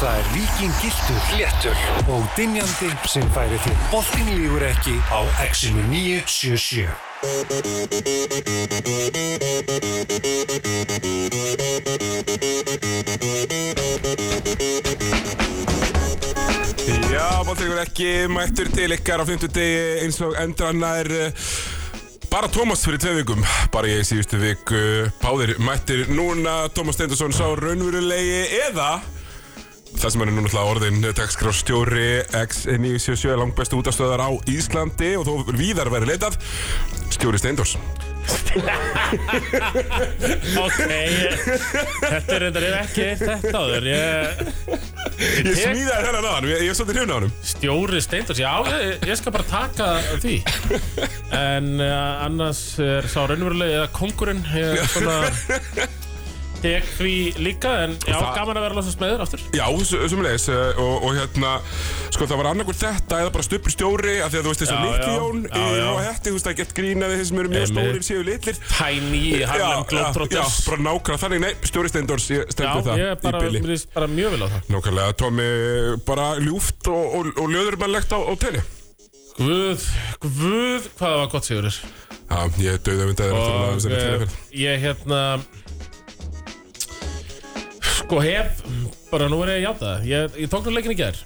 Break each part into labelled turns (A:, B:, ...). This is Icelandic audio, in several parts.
A: Það er vikingiltur, léttur og dinjandi sem færi þér boltin lígur ekki á Exinu 977.
B: Já, Bóttíkur ekki mættur til ykkar á 50 degi eins og endranna er bara Tómas fyrir tvei vikum bara ég í síðustu viku báðir mættir núna Tómas Steindorsson sá raunverulegi eða það sem hann er núna alltaf orðin textgráðstjóri X977 langbæstu útastöðar á Íslandi og þó víðar verið leitað stjóri Steindors
C: Ok, ég, þetta er reyndar ég hef ekki heyrt þetta áður ég,
B: Ég smíðaði þennan aðan, ég, ég er svolítið hrifna á hann
C: Stjóri Steindors, já, ég, ég skal bara taka því En uh, annars er sá raunverulega eða kongurinn Ég er svona Tek því líka, en já,
B: Það-
C: gaman að vera losast með þér aftur
B: Já, sumulegis og, og hérna, sko það var annarkur þetta eða bara stuppur stjóri af því að þú veist þess að
C: Já,
B: litli
C: já.
B: Jón
C: Já,
B: í
C: já.
B: Róhetti, þú veist það er gett grínaði þeir sem eru mjög
C: Einmitt.
B: stórir séu litlir
C: Tiny, Harlem
B: já,
C: Globetrotters
B: bara nákvæmlega, þannig nei, stjóri Steindors, ég
C: Já,
B: stendur það
C: ég er bara,
B: í
C: mér
B: byli
C: líst bara mjög vel á það
B: Nákvæmlega, Tómi, bara ljúft og, og, og löðurmannlegt á, á tenni
C: Guð, guð, hvað það var gott Sigurður
B: Já, ég döði að mynda þér aftur að
C: Og
B: þessari
C: eh,
B: tilfell
C: ég hérna Sko hef Bara nú er ég að játa það Ég, ég tók nú leikin í gær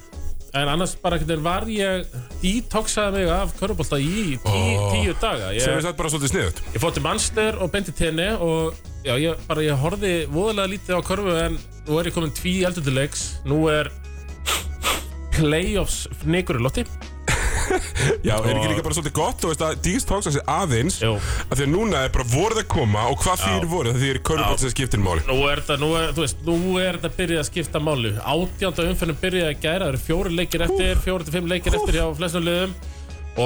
C: En annars bara hvernig var ég Detoxaði mig af körubólta í tí,
B: Ó.
C: tíu daga
B: Sem við
C: Ég,
B: satt bara svolítið sniðut
C: ég fótt til mannsnir og benti tenni Og já, ég, bara ég horfði voðalega lítið á körfu En nú er ég komin tví eldur til leiks Nú er Playoffs fnikur í lotti
B: Já, er ekki
C: Og-
B: líka bara svolítið gott, þú veist að Dís tóks að sig aðeins
C: Jú.
B: af Því að núna er bara voruð að koma og hvað fyrir voruð því er körnubátt sem skiptir máli
C: Nú er þetta, nú er, þú veist, nú er þetta byrjað að skipta máli Átjánda umfennum byrjað að gæra Það eru fjóri leikir eftir, fjóri til fimm leikir eftir hjá flestum liðum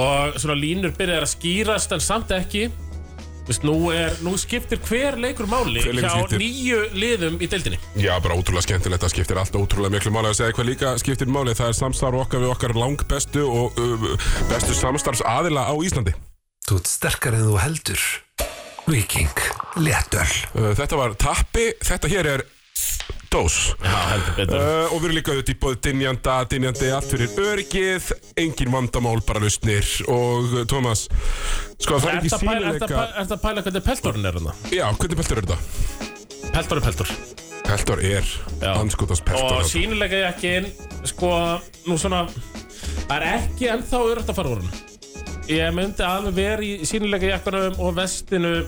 C: Og svona línur byrjað að skýrast en samt ekki Þú veist, nú, er, nú skiptir hver leikur máli
B: Hver leikur
C: hjá
B: skiptir.
C: nýju liðum í deildinni
B: Já, bara ótrúlega skemmtilegt, það skiptir allt ótrúlega miklu máli að segja hvað líka skiptir máli, það er samstarf okkar við okkar langbestu og uh, bestu samstarfs aðila á Íslandi.
A: Þú ert sterkar en þú heldur. Viking, léttöl.
B: Uh, þetta var Tappi, þetta hér er Dós.
C: Já, heldur betur
B: Uh, og við erum líka auðvitað í bóði dynjanda, dynjandi, allt fyrir öryggið, engin vandamál, bara lausnir og uh, Tómas, sko það er
C: Er
B: ekki
C: þetta pæla, ertu að
B: sínuleika...
C: pæla, ertu að pæla hvernig peltorinn er hérna?
B: Já, hvernig peltur er þetta?
C: Peltor er peltor
B: Peltur er,
C: Já.
B: anskotast peltur. sko.
C: Og sínilega ég ekki inn Sko, nú svona Það er ekki ennþá örögt að fara úr hann Ég myndi alveg vera í sínilega jakkanum og vestinu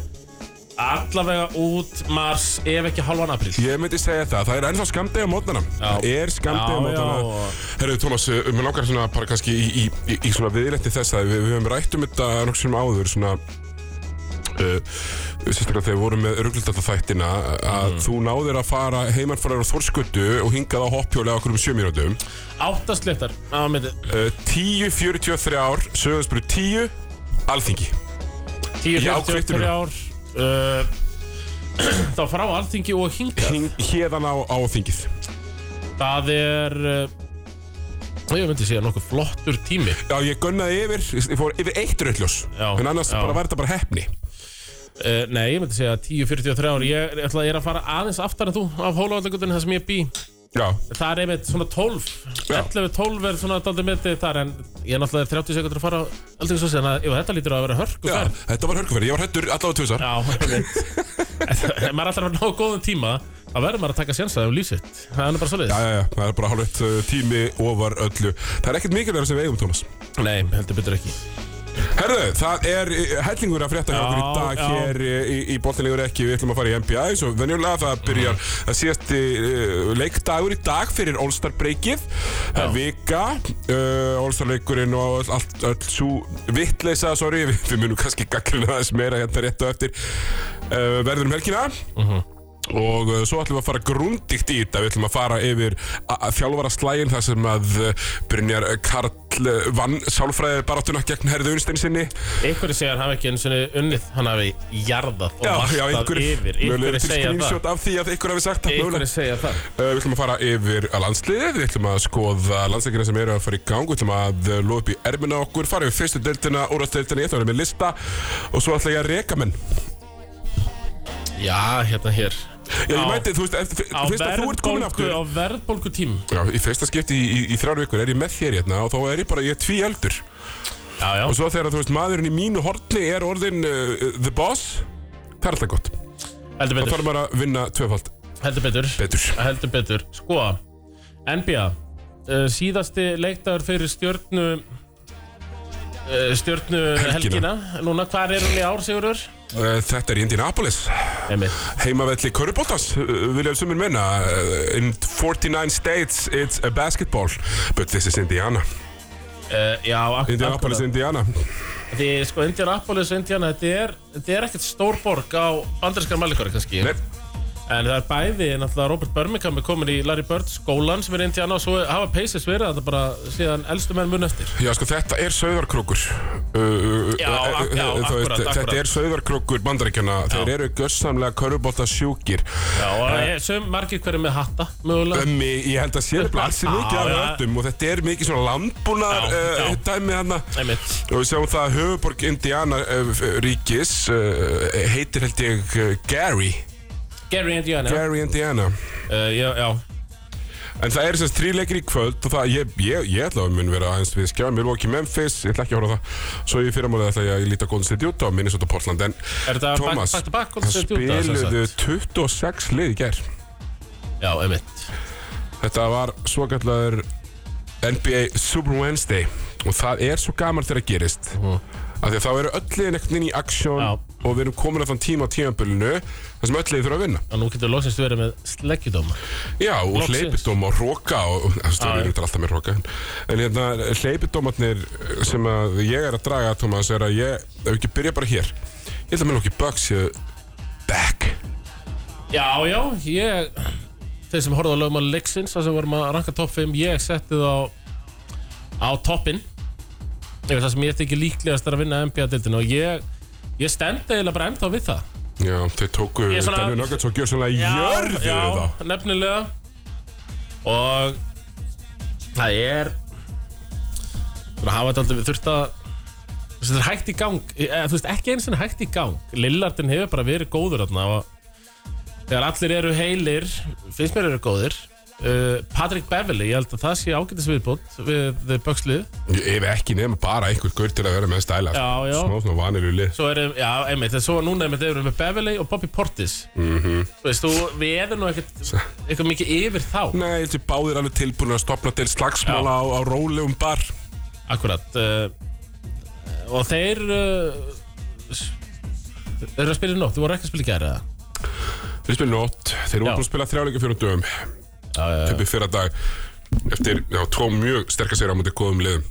C: Allavega út mars Ef ekki halvan april
B: Ég myndi segja það, það er ennþá skamdegi á mótnana Það er skamdegi á
C: Já,
B: mótnana
C: já.
B: Herru Tómas, uh, mér langar svona bara kannski í, í, í, í svona viðletti þess að við, við höfum rætt um þetta nokkuð sem áður svona uh, sérstaklega þegar við vorum með ruglutata þættina að
C: Mm.
B: þú náðir að fara heimanfarar á Þórskuttu og hingað á hoppjóli á okkur um sjömínútum
C: Áttasléttar á myndi
B: uh, 10.43 ár, sögðansbyrju 10 Alþingi
C: 10,
B: Já,
C: 40,
B: kvittunum.
C: ár uh, Þá frá alþingi og hingað
B: Hing, Héðan á, á þingið
C: Það er uh, Ég myndi segja nokkuð flottur tími
B: Já, ég gunnaði yfir, ég fór yfir eitt rauðljós
C: Já,
B: En annars
C: já.
B: bara var þetta bara heppni
C: Uh, nei, ég myndi segja 10-43 ár ég, ég, ætla, ég er að fara aðeins aftar en þú af hólavallagutunni þar sem ég bý
B: Já,
C: Það er einmitt svona 12
B: Já.
C: 11-12 er svona daldi metið þar en ég er náttúrulega 30 sekundur að fara á Alþingishúsið, þannig að ef þetta lítur að vera hörku
B: Já, þetta var hörkuferð, ég var hættur allavega tvisar
C: Já, einmitt Ef maður er alltaf að ná góðum tíma þá verður maður að taka sjensaði um lífsitt Það er nú bara
B: Já,
C: svolítið
B: já, já, það er bara hálfitt uh, tími ofar öllu Það er ekkert mikilvægur sem við eigum, Tómas
C: Nei, heldur betur ekki
B: Herðu, það er uh, hellingur að frétta hjá okkur í
C: Já,
B: dag
C: já.
B: hér uh, í, í boltinlegur ekki Við ætlum að fara í NBA eins og venjulega það byrjar að síðast uh, leikdagur í dag fyrir All-Star breykið Það er vika, uh, All-Star leikurinn og öll, allt, öll svo vittleysa, sorry Við, við munum kannski gaggrina þess meira hérna rétt og eftir uh, Verður um helgina Og uh, svo ætlum við að fara grundíkt í þetta, við ætlum að fara yfir þjálfara slægin þar sem að uh, Brynjar Karl uh, vann sálfræði baráttuna gegn Herðu Unstein sinni.
C: Einhverju segja hann hafi ekki eins og unnið hann hafi jarðað og vartað yfir
B: mögulega
C: Einhverju
B: til
C: segja það
B: screenshot af því að einhver hafi sagt það mögulega.
C: Einhverju segja það
B: Uh, við ætlum að fara yfir að landsliðið, við ætlum að skoða landsleikina sem eru að fara í gang, við ætlum að uh, loða upp í ermina á okkur, fara yfir fyrstu deltina, úrvarsdeltina, ég ætlum að vera með lista og svo ætla ég að reka menn.
C: Já, hérna hér
B: Já, ég
C: Á-
B: mæti, þú veist, eftir,
C: á
B: fyrst að þú ert komin aftur
C: verðbólgu, á verðbólgu tím
B: Já, í fyrsta skipti í, í, í þrjár vikur er ég með þér hérna og þá er ég bara, ég er tví eldur
C: Já, já,
B: Og svo þegar, þú veist, maðurinn í mínu horni er orðin uh, the boss Það er alltaf gott
C: heldur
B: Það
C: betur,
B: þarf bara að vinna tvöfald
C: heldur betur,
B: betur
C: heldur betur Sko, NBA uh, Síðasti leikdagur fyrir stjörnu uh, Stjörnu helgina.
B: Helgina.
C: Núna, hvar er hún í ár, Sigurður?
B: Uh, Þetta er Indianapolis
C: Einmitt
B: Heimavelli Körubóltas, vilja sumir menna uh, In 49 states it's a basketball But this is Indiana
C: uh, Já, ak-
B: Indianapolis,
C: akkurat.
B: Indiana
C: Því, sko, Indianapolis, Indiana Þetta er, þetta er ekkert stór borg á bandarinskar mælikori, kannski
B: Nei,
C: En það er bæði, náttúrulega Robert Birmingham er komin í Larry Bird skólan sem er Indiana og svo hafa Pacers verið að það bara síðan elstu menn mun eftir
B: Já, sko, þetta er sauðarkrókur Uh, uh,
C: Já,
B: uh,
C: ak- já,
B: þú
C: akkurat,
B: veist,
C: akkurat.
B: Þetta er sauðarkrókur bandaríkjana Þeir eru görsamlega körubólta sjúkir
C: Já, og ég, sem margir hverju með hatta mögulega
B: Ömmi, ég held að sé nefnilega alls í mikið af
C: Já, já.
B: öllum og þetta er mikið svona landbúnar
C: Já,
B: uh,
C: já.
B: dæmi hann
C: Einmitt.
B: og við sjáum það að höfuborg Indiana uh, f- ríkis uh, heitir held ég uh, Gary
C: Gary Indiana Gary.
B: Gary Indiana
C: Uh, já, já,
B: En það er semst þríleikir í kvöld og það, ég, ég, ég ætla að mun vera aðeins við skjáum, ég lóki Memphis, ég ætla ekki að horfa á það svo ég fyrramálið ætla ég að líta Golden State út á Minnesota Portland, en
C: Er þetta back-
B: Thomas,
C: back to back Golden
B: það
C: State Utah, sem sagt?
B: spiluðu 26 lið í gær
C: já, einmitt
B: Þetta var svokallaður NBA Super Wednesday og það er svo gaman þegar það gerist af því að þá eru öll liðin einhvern veginn í aksjón
C: Mhm. Já.
B: og við erum komin að þann tíma á tímabölinu þar sem öll liðin þurfa að vinna
C: Og nú getur loksins verið með sleggjudóma
B: Já, og
C: Loksins.
B: hleypidóma og róka og og- það
C: Já,
B: stóður
C: já.
B: yfir alltaf með róka en hérna hleypidómatnir sem að ég er að draga Thomas er að ég, ef við ekki byrja bara hér ég held að mér lóki Bucks séu back
C: Já, já, ég Þeir sem horfðu á lögmáli leiksins þar sem vorum að ranka topp 5 Ég setti það á toppin Ég veist það sem ég þykir líklegast er að vinna NBA-dildin og ég, ég stend eiginlega bara ennþá við það
B: Já, þau tóku
C: Ég er svona-
B: Denver Nuggets og gjör svona jörðu
C: já,
B: það
C: nefnilega og það er það hafa þetta aldrei þurft að þú veist, þetta er hægt í gang e, eða, þú veist ekki eins og hægt í gang Lillardin hefur bara verið góður þarna og þegar allir eru heilir finnst mér eru góðir uh, Patrick Beverly, ég held að það sé ágætis viðbót við Böxlið
B: Ef ekki nema bara einhver gaur til að vera með stæla sko.
C: Já, já.
B: Smá svona vanir í lið
C: Svo erum, já, einmitt, en svo núna einmitt erum við með Beverly og Bobby Portis mm -hmm. Þú veist, þú, við erum nú ekkert eitthvað mikið yfir þá
B: Nei, þessi báðir alveg tilbúin að stopna til slagsmála á, á rólegum bar
C: Akkurat uh, Og þeir uh, s- Þeir eru að spila í nótt, þú voru ekki að spila í gæri eða?
B: Þeir spila nótt, þeir voru
C: Já.
B: búin að spila þrjáleika fjórum dögum
C: já,
B: Töpið fyrra dag Eftir, já, tvo mjög sterkar sér á mútið góðum liðum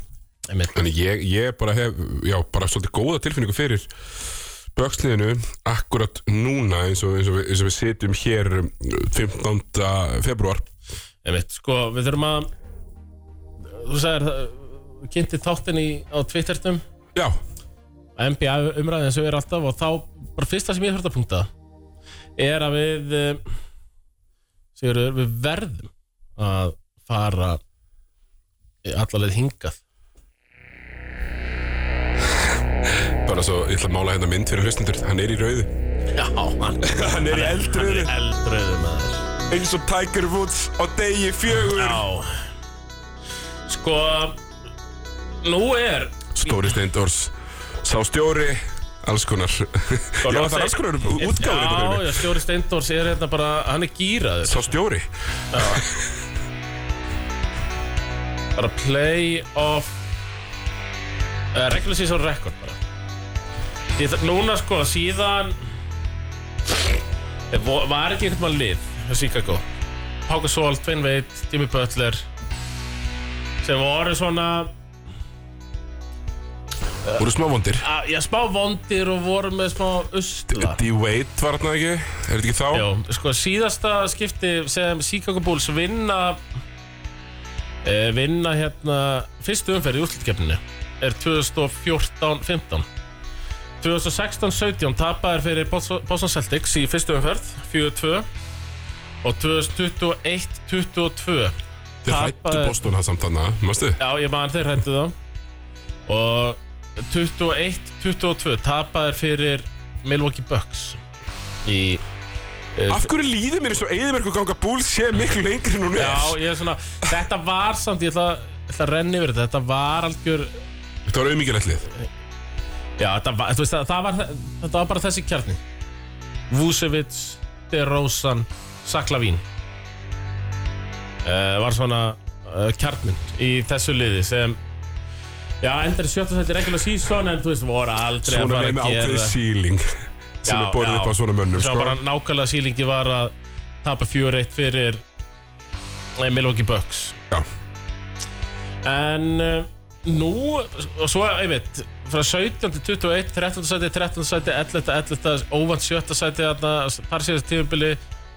C: einmitt
B: Þannig ég, ég bara hef, já, bara svolítið góða tilfinningu fyrir Böksliðinu akkurat núna eins og, eins og, við, eins og við sitjum hér um, 15. februar
C: Einmitt, sko, við þurfum að Þú sagðir, það- kynnti þáttin í, á Twittertum
B: Já,
C: NBA umræðin sem er alltaf og þá, bara fyrsta sem ég þurft að punkta er að við uh, Sigurður, við verðum að fara allarleið hingað
B: bara svo, ég ætla að mála hérna mynd fyrir hlustendur Hann er í rauðu
C: Já, hann
B: Hann er í eldröðu
C: er eldröðu með þess
B: eins og Tiger Woods á degi fjögur
C: Já Sko Nú er
B: Stóri Steindors Sá stjóri Alls konar
C: sko,
B: Já það er alls konar hérna útgáður
C: Já, já, stjóri Steindors er hérna bara Hann er gýraður
B: Sá stjóri
C: Bara play of uh, Regular season record bara Því það, Núna sko, síðan eh, vo- Var ekki einhvern mann lið hjá Chicago Páka Sól, Tvein Veit, Jimmy Butler Sem voru svona
B: Úr smá vondir
C: að, ah, Já, smá vondir og voru með smá usla
B: D-Wade var hann ekki Er þetta ekki þá?
C: Já, sko síðasta skipti sem Chicago Bulls vinna e, vinna hérna fyrstu umferð í útlutkeppninu er 2014-15 2016-17 tapaðir fyrir Boston Boston Celtics í fyrstu umferð 4-2 og 2021-22
B: Þeir hættu
C: Tapaði-
B: Boston hann samt hann Mástu?
C: Já, ég man þeir hættu þá og 21-22 tapaðir fyrir Milwaukee Bucks í
B: Af hverju líður mér eins og eðimerku ganga búl sé miklu lengri en hún er?
C: Já, ég er svona, þetta var samt, ég ætla, ég ætla að renna yfir þetta, þetta var algjör,
B: Þetta var auðmikilegt lið.
C: já, þetta var, þú veist, það, það var, þetta var bara þessi kjarni. Vucevic, De Rosan, Saklavín. Uh, var svona uh, kjarnin í þessu liði sem, já, endar í sjötta sætti regular season, en þú veist, voru aldrei
B: Svona
C: að
B: leið
C: fara
B: með
C: að
B: ákveðið
C: gera.
B: síling sem
C: Já,
B: er borðið
C: já.
B: upp á svona mönnum,
C: Það var bara
B: sko.
C: nákvæmlega sílingi var að tapa 4-1 fyrir eh, Milwaukee Bucks.
B: Já.
C: En uh, nú, og svo, einmitt, frá 17 til 21, 13 sæti, 13 sæti, 11, 11, óvænt 7 sæti, þarna, þar síðast tíðumbili,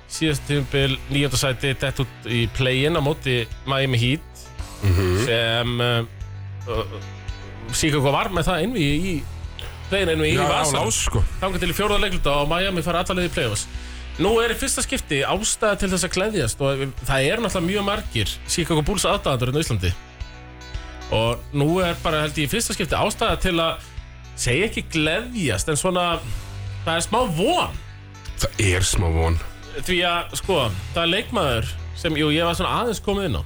C: síðast tíðumbil, 9 sæti, dett út í play-in á móti Miami Heat,
B: Mhm.
C: sem uh, Chicago var með það innví í play-in, innví í
B: Já, á
C: vasan.
B: lás, sko.
C: Þangar til í fjóruða leikluta og Miami fara allalegi í play-offs. Nú er í fyrsta skipti ástæða til þess að gleðjast og það eru náttúrulega mjög margir Chicago Bulls aðdáðandur hérna á Íslandi. Og nú er bara held ég í fyrsta skipti ástæða til að segja ekki gleðjast en svona það er smá von
B: Það er smá von.
C: því að sko það er leikmaður sem jú, ég var svona aðeins komið inn á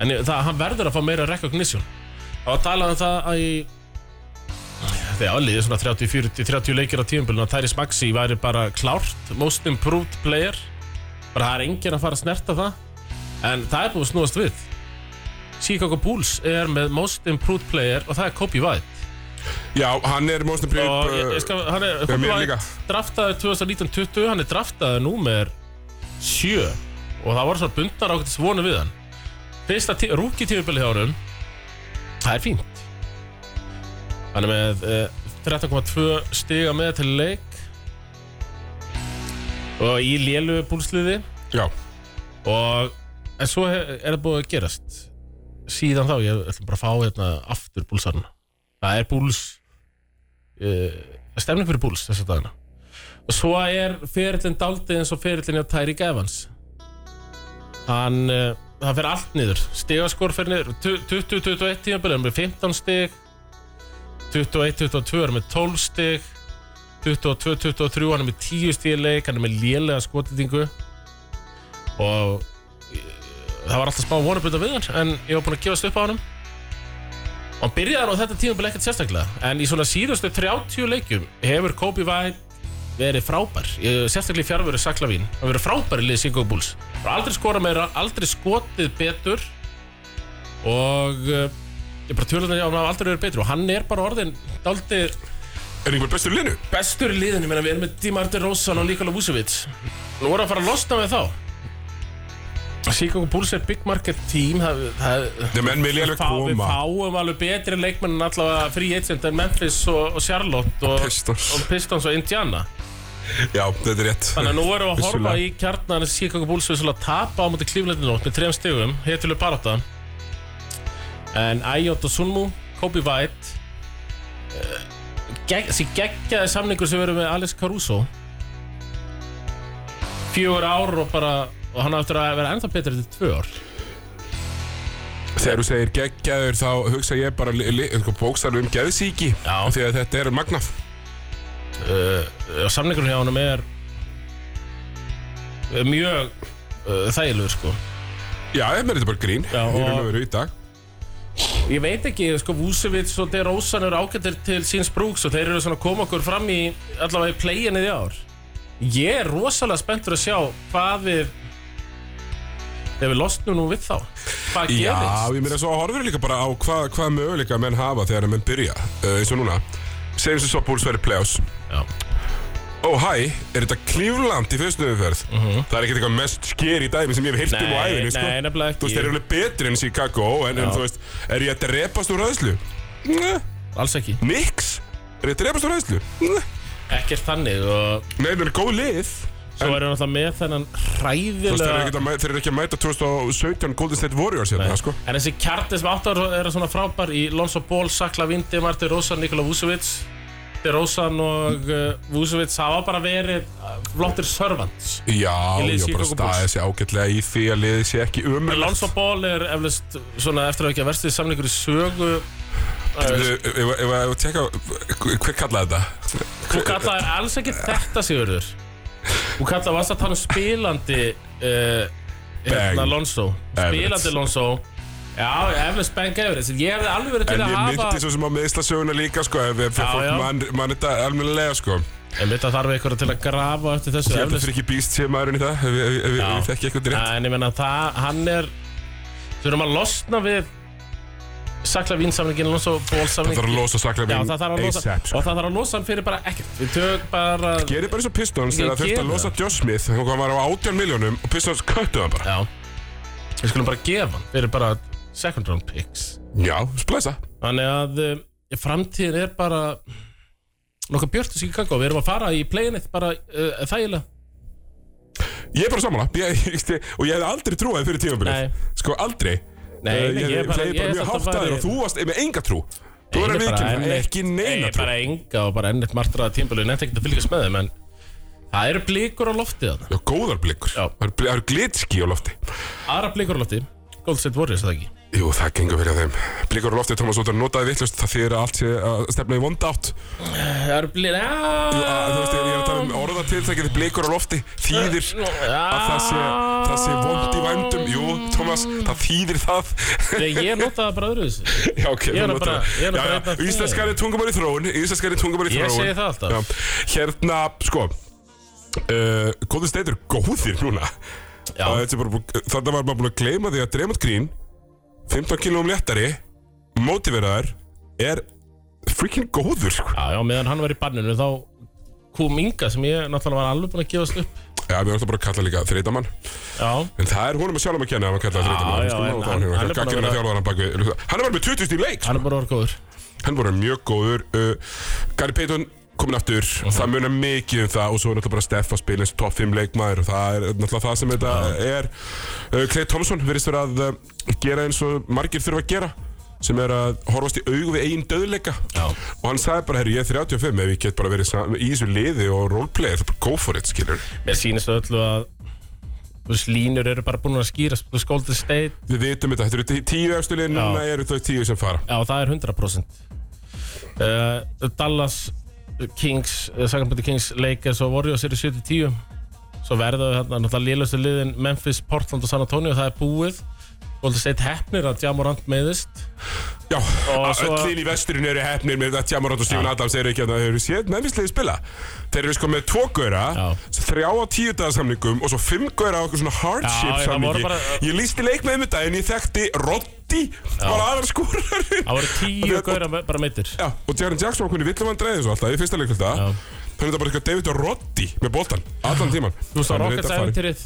C: en ég- það, hann verður að fá meira recognition og talað um það að í þegar aðliðið svona 30, 40, 30 leikir á tíumbölinu og Tyrese Maxi væri bara klárt most improved player bara það er enginn að fara að snerta það en það er búið að snúast við Chicago Bulls er með most improved player og það er Kobe White
B: Já, hann er most
C: og ég, ég
B: improved.
C: skal, hann er,
B: mér
C: Kobe
B: líka.
C: White draftaði 2019-20 hann er draftaði númer 7 og það voru svona bundnar ákveðtis vonu við hann fyrsta rúki tífubili hjá hann það er fínt hann er með eh, 13,2 stiga með til leik og í lélu búlsliði
B: uh, Já,
C: og en svo he- er það búið að gerast síðan þá, ég ætlum bara að fá hérna aftur búlsarna það er búls uh, stemning fyrir búls þessa dagana og svo er ferillin daldið eins og ferillin hjá Tyreek Evans hann uh, það fer allt niður, stigaskor fer niður 20-21 tímabili er með 15 stig 21-22 er með 12 stig 22-23 hann er með 10 stig í leik, hann er með lélega skotlendingu og eh, það var alltaf smá vonubunda við hann en ég var búinn að gefast upp á hann og hann byrjaði á þetta tímabil ekkert sérstaklega en í svona síðustu 30 leikjum hefur Kobe White verið frábær Ég- sérstaklega í fjárveru Saklavín hann verið frábær í liði Singo Bulls og aldrei skora meira, aldrei skotið betur og uh, ég bara tölur þannig að hann hafa aldrei verið betur og hann er bara orðin daldið
B: er einhver bestur linu?
C: bestur í liðinu, ég meina við erum með Dimardi Rósan og Nikola Vucevic Nú voru að fara að losna við þá Chicago Bulls er big market team Það, það
B: Þeir menn vilja alveg
C: Við
B: koma.
C: fáum alveg betri leikmenn en allavega free agent en Memphis og, og Charlotte og
B: Pistons.
C: og Pistons og Indiana
B: Já, þetta er rétt.
C: Þannig að nú erum við að horfa
B: Vissulega.
C: í kjarnan Chicago Bulls við svolítið að tapa á mútið klíflendinótt með trefn stegum, hétuleg barata en Ayot og Sunmu Kobe White eh, gegg- þessi geggjaði samningur sem við erum með Alex Caruso fjögur ár og bara og hann áttur að vera ennþá betur eftir tvö ár
B: Þegar þú segir geggjaður þá hugsa ég bara li- li- eitthvað bókstarfi um geðsíki
C: Já.
B: því að þetta er magnað.
C: Eh, og samningurinn hjá hann er eh, mjög uh, þægilegur sko
B: Já, þetta er bara grín. Já,
C: Já,
B: og...
C: og-
B: Hér í dag.
C: Ég veit ekki, sko, Vucevic og De Rosan eru ágættir til síns brúks og þeir eru svona að koma okkur fram í allavega í play-inni í ár. Ég er rosalega spenntur að sjá hvað við ef við losnum nú við þá. Hvað
B: Já,
C: gerist?
B: ég meina svo horfir líka bara á hvað hva möguleika menn hafa þegar menn byrja uh, eins og núna segjum sem svo búls verið play-offs
C: Já.
B: Ó hæ, er þetta Cleveland í fyrstu umferð? Það er ekkert eitthvað mest skeri dæmi sem ég hef heyrt um á
C: Mhm. Nei,
B: æfinni sko.
C: nei, nefnilega
B: Þú veist, þeir eru
C: ekki.
B: alveg betri enn Chicago en, en þú veist, er ég að drepast úr hræðslu? Nei.
C: Alls ekki.
B: Nix? Er ég að drepast úr hræðslu? Nei.
C: Ekkert þannig og
B: Nei, það er góð lið
C: svo erum við náttúrulega með þennan
B: Þú veist, þeir eru
C: hræðilega...
B: ekkert að mæ- þeir eru ekki að mæta 2017 Golden State Warriors hérna, sko
C: En þessi kjarni sem áttar eru svona frábær í Lonzo Ball, Sakla Vindi, Marti Rósan, Nikola Vucevic De Rósan og uh, Vucevic hafa bara verið uh, flottir servants
B: Já,
C: Í liði
B: ég bara
C: Chicago Bulls.
B: staðið sér ágætlega í því að liðið sé ekki
C: En
B: umrætt
C: Lonzo Ball er eflust svona eftir að ekki að verstið samlingur í sögu Eh,
B: Ef ef- ef að tjekka, hver kallaði þetta?
C: sko,
B: eh,
C: Þú kallaðir alls ekki þetta sigurður Þú kallar varst að tala um spilandi uh,
B: Bang.
C: hérna Alonso
B: Everett.
C: Spilandi Alonso Já, eflust Bang Everett Ég hefði alveg verið til
B: En
C: að
B: ég
C: hafa
B: myndi svo sem á meðslasöguna líka sko Ef ef
C: Já, já.
B: fólk mann man þetta almennilega sko
C: Ég myndi að þarf eitthvað til að grafa eftir þessu
B: Ég held að
C: eflaust.
B: fyrir ekki býst sé maðurinn í það Ef ef- ef- ef
C: Já.
B: ég þekki eitthvað rétt
C: Já, En ég menna það, hann er Við erum að losna við Sakla vínsamlingin, Alonso
B: Það
C: bólsamlingin
B: þarf að losa sakla
C: Já, það þarf að losa
B: ASAP
C: Og
B: sko
C: það þarf að losa hann fyrir bara ekkert Við tök bara
B: Gerir bara eins og Pistons
C: Ég
B: þegar það þurfti
C: geri
B: að losa
C: það.
B: Josh Smith og hann var á 18 miljónum og Pistons köttu hann bara
C: Já Við skulum bara gefa hann Fyrir bara second round picks
B: Já, splæsa
C: Þannig að um, framtíðin er bara Nóka björntus í kakó Við erum að fara í playinnið bara uh, þægilega
B: Eh, Ég er bara sammála ég, ég, ég, Og ég hef aldrei trúið fyrir
C: Nei.
B: tímabilið Sko aldrei Eh,
C: Nei,
B: Ég
C: nei, ég
B: hef
C: bara-
B: bara,
C: ég
B: bara
C: samt
B: mjög
C: að
B: hátt að
C: fara
B: þér
C: í-
B: og þú varst með enga trú Þú
C: Ég
B: verður
C: er
B: að
C: bara
B: viðkynna,
C: enn-
B: ekki neina
C: Nei,
B: trú
C: bara enga og bara ennett martraða tímbölu En ekkert að fylgjast með þeim En það eru blíkur á lofti þarna
B: Já, góðar blikur
C: Já.
B: Það eru bli- það eru glitski á lofti
C: Aðra blíkur á lofti Gold State Warriors, er það ekki
B: Jú, það gengur fyrir þeim Blikur á lofti, Thomas Óttar notaði vittlust Það þýðir að allt sé að stefna í vonda átt
C: Það eru blíkur
B: að, Þú veist, ég er að tala um orðatiltækið Blikur á lofti þýðir að það sé, það sé vond í vændum Jú, Thomas, það þýðir það
C: Nei, ég nota það bara öðru þessu
B: Já, ok,
C: Ég er
B: þú
C: nú bara-
B: notar-
C: ég er
B: Já,
C: nú bara
B: já,
C: einn af þeim.
B: Íslenskari tungumar í þróun Íslenskari tungumar í
C: Ég
B: þróun
C: segi það alltaf.
B: Já, Hérna, sko uh, Góðið steitur góðir núna
C: Já,
B: Að þetta er bara búin- Þarna var maður búin að gleyma því að Draymond Green 15 kg léttari Mótiveraðar Er freaking góður sko.
C: já, já, meðan hann var í banninu þá kom Inga sem ég náttúrulega var alveg búin að gefast upp
B: Já, við erum alltaf bara að kalla líka þreitamann
C: Já,
B: En það er honum að sjálfum að kenna að hann kallaði
C: Já,
B: þreitamann
C: já, en
B: sko,
C: hann-
B: Hann,
C: hann
B: hann,
C: er búin að
B: hann,
C: vera-
B: hann, hann, hann er bara með 20 stíl leik
C: hann er bara orðgóður
B: Hann voru mjög góður uh, Gary Payton komin aftur
C: Mhm.
B: Það munar mikið um það Og svo er náttúrulega bara Steff að spila eins og topp 5 leikmaður Og það er náttúrulega það sem þetta er uh, Clay Thompson virðist vera að uh, gera eins og margir þurfa að gera sem er að horfast í augu við eigin döðleika
C: Já.
B: og hann sagði bara, herru, ég er 35 ef ég get bara verið sam- í þessu liði og roleplay þá bara go for it, skilur
C: Mér sýnist öllu að þú veist, línur eru bara búin að skýra skóldið steit
B: við vitum þetta, þetta eru tíu efstilinn
C: Já.
B: núna eru þau tíu sem fara
C: Já, það er 100% uh, Dallas Kings, uh, Sakamundi Kings Lakers og Warriors eru 7-10 Svo verða við hérna náttúrulega lélustu liðin Memphis, Portland og San Antonio, það er búið Golden State hefnir að Jamorant meiðist
B: Já,
C: Og
B: að
C: svo-
B: öll lið í vesturinn eru hefnir með þetta Jamarot og Stephen Adams eru ekki að það hefur séð nefnislega spila. Þeir eru sko með tvo gauðra,
C: Já.
B: þrjá á tíu dagasamningum og svo fimm gauðra á okkur svona
C: Já,
B: hardship
C: já, það
B: samningi.
C: voru bara-
B: Ég lísti leik með um þetta en ég þekkti Roddi var aðar skúrari.
C: Það voru tíu gauðra me- bara meittir
B: Já, og Jaren Jackson var hvernig villum hann dreigði svo alltaf í fyrsta leikult það.
C: Já.
B: Þannig að það bara eitthvað David og Roddi með boltan, allan tíman.
C: Þú
B: Þannig
C: veist,
B: að
C: Rockets
B: þetta farið.
C: æfintýrið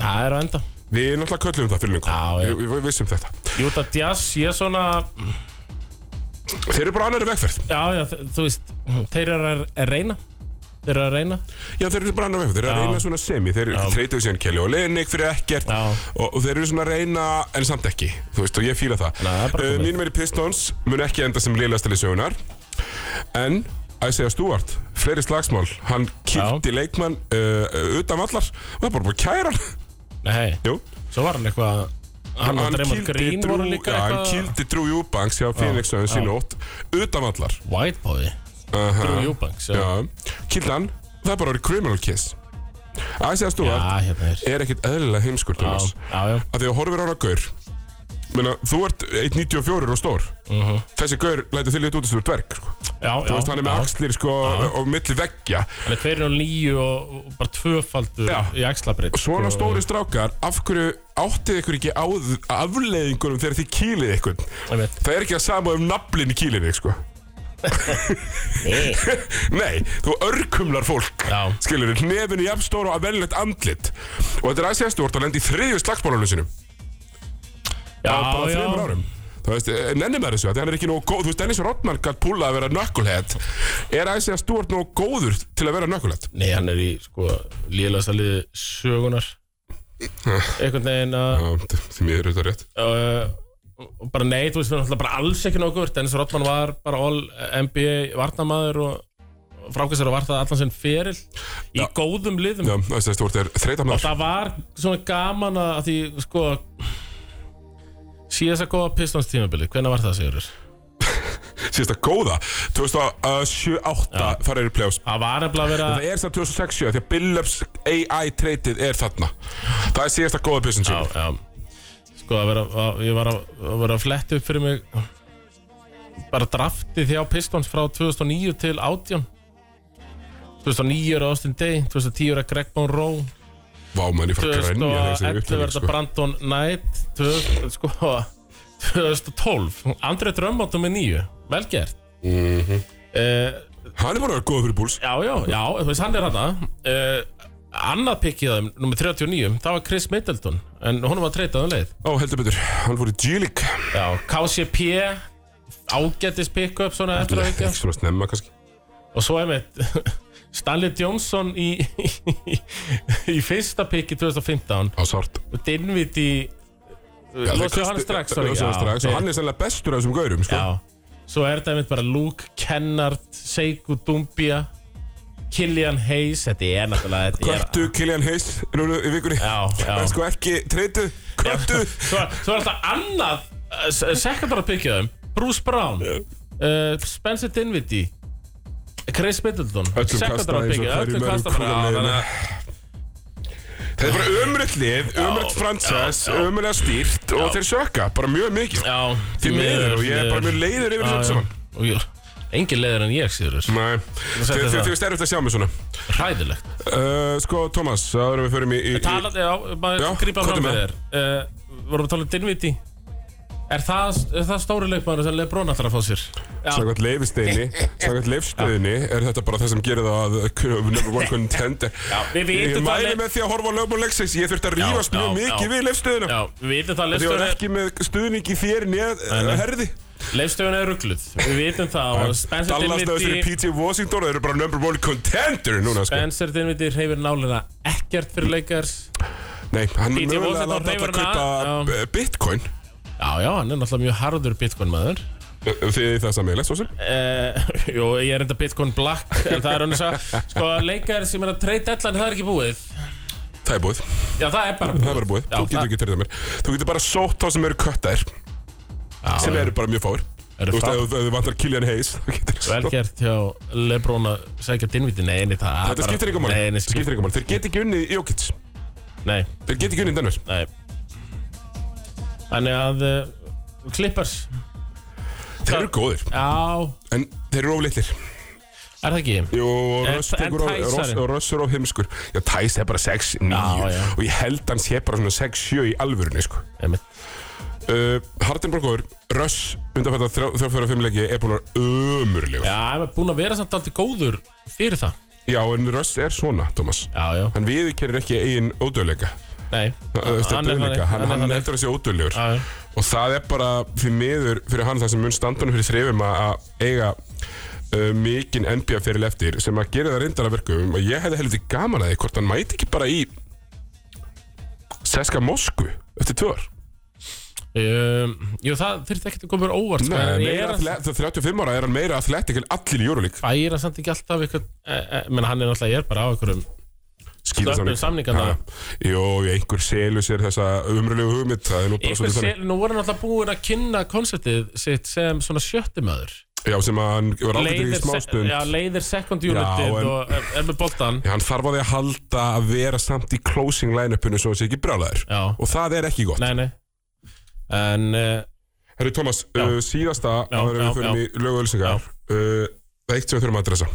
C: Það er á enda
B: Við náttúrulega köllum það fyrir
C: Já, já.
B: lengur. Við vissum þetta.
C: Júta Jazz, ég er svona
B: Þeir eru bara á annarri vegferð.
C: Já, já, þ- þú veist, þeir eru að að reyna Þeir eru að reyna
B: Já, þeir eru bara annar vegfæð, þeir eru að
C: Já.
B: reyna svona semi Þeir eru þreytuð síðan Kelly og Lennig fyrir ekkert
C: Já.
B: og, og þeir eru svona að reyna en samt ekki Þú veist, og ég fíla það
C: Nei, það er bara
B: uh,
C: komið.
B: Mínum er í Pistons, mun ekki enda sem liðlastili sögunar En, að segja Stuart, fleiri slagsmál Hann kýtti leikmann uh, uh, utan vallar og það er bara búið að kæra hann
C: Nei,
B: Jú,
C: svo var hann eitthvað Hann og Dreymond
B: kýldi
C: Green
B: Drew-
C: voru líka
B: já, Hann
C: eitthvað-
B: kýldi Drew Eubanks hjá Phoenix og
C: já.
B: sín ótt utan vallar
C: White boy,
B: Aha.
C: Drew Eubanks Já,
B: Já, kýldi hann, það er bara orðið criminal case Að segja
C: já
B: Stuart
C: hérna er
B: er ekkert eðlilega heimskur
C: Já,
B: Thomas
C: já, já,
B: að því að horfir á hana gaur Meina, þú ert 1.94 og stór þessi gaur lætur þig lítið út að þú ert dverg sko.
C: Mhm. já
B: þú veist hann er með axlir sko, og milli veggja
C: Hann er 2 og 9 og og bara tvöfaldur
B: Já.
C: í sko. axlabreyt
B: svona stóri strákar af hverju áttið ykkur ekki á afleiðingunum þegar þið kýlið ykkur það er ekki að sama um naflin í kýlinni sko. Nei, þú örkumlar fólk
C: Já.
B: Skilur, nefinu jafn stór og að velnett andlit Og þetta er aðsjæðast, þú ert að lenda í þriðju slagsmálunum sinum
C: Já,
B: bara bara
C: já
B: þreymur árum Þú veist, eh, nenni maður þessu, því hann er ekki nógu góð Þú veist, Dennis Rodman galt púla að vera knucklehead Er að segja að Stuart nógu góður til að vera knucklehead?
C: Nei, hann er í, sko, líðlegasta liði sögunar Einhvern veginn að
B: Já, því mér er þetta rétt
C: uh, og bara nei, þú veist, við erum alltaf bara alls ekki nokkur Dennis Rodman var bara all eh, NBA varnamaður og frákvæmst er að varta allan sinn feril í góðum liðum
B: Já, að segja að Stuart er
C: og
B: þreytamnar
C: það var svona gaman að að því, sko síðast að góða Pistons tímabili, hvenær var það, segirur?
B: síðasta góða 2007-2008 fara í playoffs
C: Það var nefnilega að vera
B: Það er það 2006-7 því að Billups AI treytið er þarna Það er síðasta góða business
C: Já,
B: Já.
C: já Sko, að vera, að, ég var að, að vera að fletta upp fyrir mig bara draftið hjá Pistons frá 2009 til 18 2009 er Austin Day 2010 er að Greg Monroe
B: Vá, mann, ég fara að grænja þessi
C: 2011
B: upptöku
C: verða
B: sko.
C: Brandon Knight 2000, sko, 2012 Andrei Drömmáttum er nýju vel gert
B: Mhm.
C: eh,
B: Hann er bara að vera góð fyrir búls
C: já, já, já, þú veist hann er hann eh, annað pikkið þeim, nummer 39 það var Chris Middleton en hún var treytað um leið
B: Ó, heldur betur, hann fór í G-League
C: já, KCP ágætis pick-up svona eftir að
B: Ekki
C: ekki
B: svona snemma kannski
C: og svo einmitt Stanley Johnson í, í, í fyrsta pikki 2015
B: Á sárt
C: og Dinviti
B: Já, þeir
C: Losið hann
B: kosti-
C: strax,
B: þeir
C: sorry,
B: losuðu hann
C: já,
B: strax Og
C: þeir-
B: hann er sennilega bestur af þessum gaurum sko.
C: Já, svo er þetta einmitt bara Luke Kennard, Seiku Dumbia Killian Hayes Þetta er náttúrulega þetta er-
B: Köttu Killian Hayes Núna í vikunni
C: Já, já.
B: En sko ekki treytu Köttu
C: Svo, svo er þetta annað uh, Sekundar að byggja þeim Bruce Brown uh, Spencer Dinwiddie Chris Middleton
B: Öllum kastað
C: Sekundar að
B: eins og hverju
C: byggja Öllum
B: mörgum
C: kasta bara á,
B: kúluleiðinu.
C: þannig að-
B: Það er bara ömröld lið Ömröld fransess Ömröld stýrt Og þeir sökka Bara mjög mikið
C: Já,
B: Því miður Og ég er bara mjög leiður yfir þetta saman
C: saman Engin leiður en ég síður þessu
B: Nei
C: settu
B: Þið
C: það.
B: þið veist erfitt að sjá mig svona
C: Hræðilegt
B: Uh, Sko, Thomas Það erum við förum í, í, í
C: Talandi, já, maður
B: Já,
C: grípa
B: komdu
C: fram með
B: með.
C: þér uh, Vorum við talað um Dinviti Er það, er það stóri leikmaður sem Lebron ætlar að fá sér? Já,
B: Samkvæmt leifisteini Samkvæmt leifstöðinni Er þetta bara það sem gerir það að uh, Number one contender
C: Já, við vitum
B: Ég
C: það
B: mæli
C: leif-
B: með því að horfa á lögmál leiksins Ég þurfti að rífast
C: já,
B: mjög
C: já.
B: mikið við leifstöðina
C: já, við vitum
B: Því
C: það
B: var
C: leifstöðun er,
B: ekki með stuðning í þér Néð
C: nei.
B: herði
C: leifstöðun er ruggluð Við vitum það og Spencer
B: Dallas náðu fyrir
C: Dinviti
B: PJ Washington Þeir eru bara number one contender núna sko.
C: Spencer Dinviti reyfir nálega ekkert fyrir leikars
B: Nei, hann
C: P.J.
B: er mögulega
C: Washington
B: að láta
C: hreyfir
B: að
C: hana,
B: kaupa
C: já.
B: eh, bitcoin
C: Já, já, hann er náttúrulega mjög harður bitcoin maður
B: Eh, Þið er það sammeilegt svo sem
C: Uh, jú, ég er enda Bitcoin Black en það er hann að sko leikar sem er að treyta allan það er ekki búið
B: Það er búið
C: já það er bara
B: Það er bara búið
C: Já,
B: Þú getur
C: það-
B: ekki treytað mér Þú getur bara sótt þá sem eru köttaðir
C: já,
B: Sem eru bara mjög fáir
C: Eru
B: Þú veist
C: fá-
B: að þú vantar Killian Hayes þá getur þú
C: vel gert hjá Lebron að sækja dinviti nei, nei, það
B: Þetta skiptir ykkur
C: nei,
B: mann
C: nei,
B: Þetta skiptir ykkur mann Þeir get ekki unnið Jókits
C: nei,
B: Þeir get ekki unnið Denver
C: nei þannig að uh, Clippers
B: Þeir eru góðir
C: já,
B: En þeir eru oflitlir
C: er það ekki
B: Jú, og
C: En-
B: Russ
C: en
B: tekur of-
C: Tyson?
B: Russ- og Russ er of heimskur Já, Tæs er bara 6-9
C: Já, já.
B: Og ég held hann sé bara svona 6-7 í alvörunni sko.
C: Einmitt.
B: uh, Hardin Borgóður Russ undanfætta 3-4-5 leiki Er búin að vera ömurlegur
C: já, hann er búin að vera samt alltaf góður fyrir það
B: Já, en Russ er svona, Thomas
C: já, já,
B: Hann viðurkenir ekki eigin ódöðleika
C: nei
B: Þetta er döðleika Hann, hann, hann eftir að sé ódöðlegur
C: Já, já.
B: og það er bara fyrir miður fyrir hann það sem mun standunum fyrir þrefum að að eiga uh, mikinn NBA fyrir leftir sem að gera það reyndar að verkum og ég hefði heldur gaman að því hvort hann mæti ekki bara í Seska Moskvu eftir tvö ár
C: Um, jú, það þurfti ekkert að koma mér óvart sko, en
B: Nei,
C: ég er
B: meira
C: að-
B: atlet- það er 35 ára er hann meira atletik en allir í Júrólík
C: færa samt ekki alltaf eitthvað, e, e, menn hann er náttúrulega, ég er bara á einhverjum Stöppum samningana.
B: Jó, einhver selur sér þessa umröðlegu hugmynd það er nú bara
C: Einhver
B: svolítið
C: sé,
B: þannig
C: nú voru hann alltaf búin að kynna konceptið sitt sem svona sjöttumöður
B: Já, sem að hann var ákveður í smástund
C: já, leiðir second
B: Já,
C: unitið
B: en-
C: og er, er með boltan
B: Já, hann þarf á því að halda að vera samt í closing line-upinu svo hann sé ekki brjálæður
C: Já.
B: og það er ekki gott
C: Nei, nei En uh,
B: Herri Tómas, uh, síðasta
C: Já,
B: áður en
C: já,
B: við förum
C: já.
B: í lögauðlýsingar uh, það er eitt sem við þurfum að adressa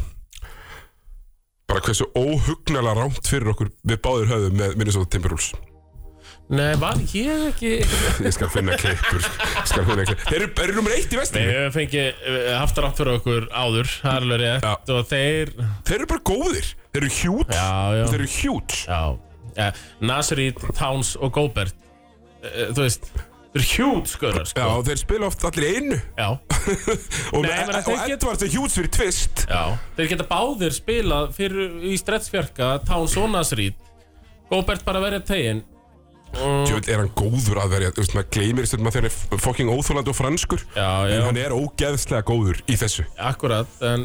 B: bara hversu óhugnala rámt fyrir okkur við báðir höfðum með Minnesota Timberwolves
C: Nei, var ég ekki
B: ég skal finna klippur ég skal finna klippur þeir eru, þeir eru nummer eitt í
C: Við
B: vestinni
C: höfum fengið eh, haft rátt fyrir okkur áður Það er alveg rétt
B: Já.
C: Og þeir
B: þeir eru bara góðir þeir eru hjút
C: Já, já
B: þeir eru hjút
C: Já, ja, Nasrid, Towns og Gobert uh, Þú veist Þeir eru hjút skörar
B: já,
C: sko.
B: þeir spila oft allir í einu
C: Já,
B: og, e-
C: Nei, ég meina,
B: og
C: þeir get-
B: Edvards er hjút fyrir tvist
C: já Þeir geta báðir spilað fyrir í strettsfjarka Towns og Nasrid Gobert bara verið tegin Mm,
B: Djöfull er hann góður að verja, þú veist, maður gleymir þess að maður þegar hann er fokking óþólandi og franskur
C: Já, já.
B: En hann er ógeðslega góður í þessu
C: Akkurat, en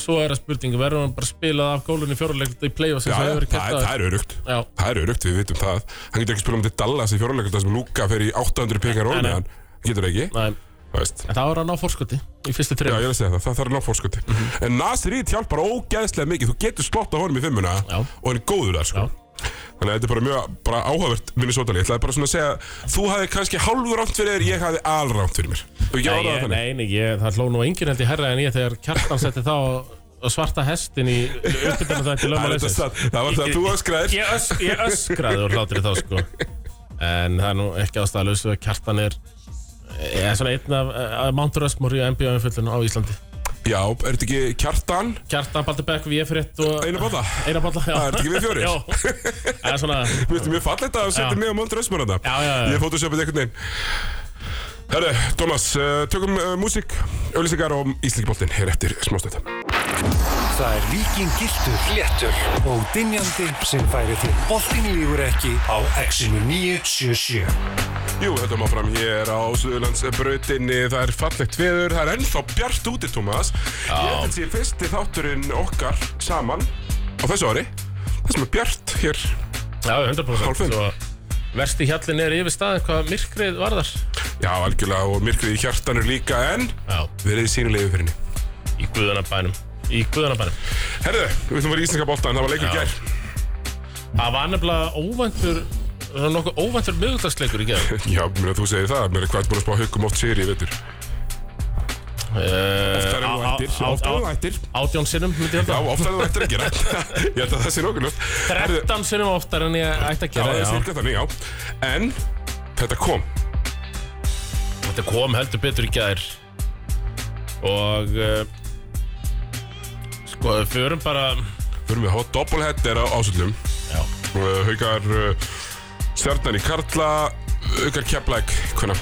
C: svo er það spurning verður hann bara spilað af gólunni fjóruleiklut í play-offs
B: Já,
C: eins og
B: já,
C: hefur verið
B: það,
C: gert
B: er- það
C: áður?
B: er örugt
C: Já,
B: Það er örugt, við vitum það Hann getur ekki spilað um til Dallas í fjóruleikölda sem Luka fer í 800 pekar róli
C: Nei, nei.
B: hann Getur það ekki
C: næ
B: þú veist.
C: En það var að ná fórskoti í fyrstu
B: Já,
C: þrejum
B: ég er að segja það, það þarf að ná fórskuti
C: Mhm.
B: En Nasir Íd hjálpar ógeðslega mikið Þú getur slott á honum í fimmuna
C: Já.
B: Og hann er góður þar sko.
C: Já.
B: Þannig að þetta er bara mjög bara áhugavert Minnesota lið, ég ætlaði bara svona að segja Þú hafði kannski hálfur rámt fyrir þér, ég hafði alrámt fyrir mér Og ég
C: Nei,
B: áraði
C: ég-
B: þannig
C: nei, nei, ég, það hló nú enginn held ég herra en ég þegar Kjartan setti þá og svarta hestin í uppbytuna þetta í
B: Það
C: lögma
B: er þetta
C: leysins
B: satt, það var það að þú öskraðir
C: ég, ös, ég öskraði úr hlátri þá sko En það er nú ekki ástæðalus að Kjartan er Ég er svona einn af uh, Mount Rushmore í NBA-umfjöldinu á Íslandi
B: Já, er þetta ekki kjartan?
C: Kjartan, Baldur Beck, Viefrétt og
B: Einar bóta?
C: Einar Balla, já
B: Það er þetta ekki við fjórir?
C: Já, það er svona
B: Mér finnst mjög fallegt að það
C: Já.
B: setja mig á Mount Rushmore þetta
C: Já, já, já.
B: Ég fótosjöpið einhvern veginn Herru, Thomas, uh, tökum uh, músík, auðlýsingar og íslengiboltinn hér eftir smástöndan.
A: Það er Víking Giltur, Léttur og Dinjandi sem færir þér Boltin lígur ekki á Exinu 977
B: Jú, þetta má fram hér á Suðurlandsbrautinni, það er fallegt veður, það er ennþá bjart úti, Tómas. Ég held að sé fyrsti þátturinn okkar saman á þessu ári. Það sem er bjart hér,
C: Já, 100%
B: Hálfum.
C: Svo Versti hjallin er yfir staðin hvað myrkrið varðar
B: já, algjörlega, og myrkrið í hjartanu líka, en
C: Já,
B: verið sínulegu fyrir henni.
C: í guðanabænum Í guðanabænum
B: Herðu, við ætlum að vera í Íslandska boltan, það var leikur í
C: Já.
B: gær.
C: Það var nefnilega óvæntur Það var nokkuð óvæntur miðugdagsleikur í geðum
B: Já, mér að þú segir það, mér er hvað búin að spá haugum oft sér í vetur.
C: Eh,
B: Það er nú ættir, oftar er nú ættir.
C: Átjón sinnum, myndi ég
B: Já,
C: held að
B: oftar er nú ættir að gera. Ég held að það sé nokkuð ljótt. Herðu,
C: 13 sinnum oftar en ég ætti
B: Já,
C: að gera
B: það er
C: já.
B: cirka þannig, já. En, þetta kom.
C: Þetta kom heldur betur í gær Og uh, Sko, við förum bara
B: Förum við að hafa doppelheader á ásöldum.
C: Já
B: Uh, Haukar uh, Stjarnan í Karla Haukar Keflæk Hvernig?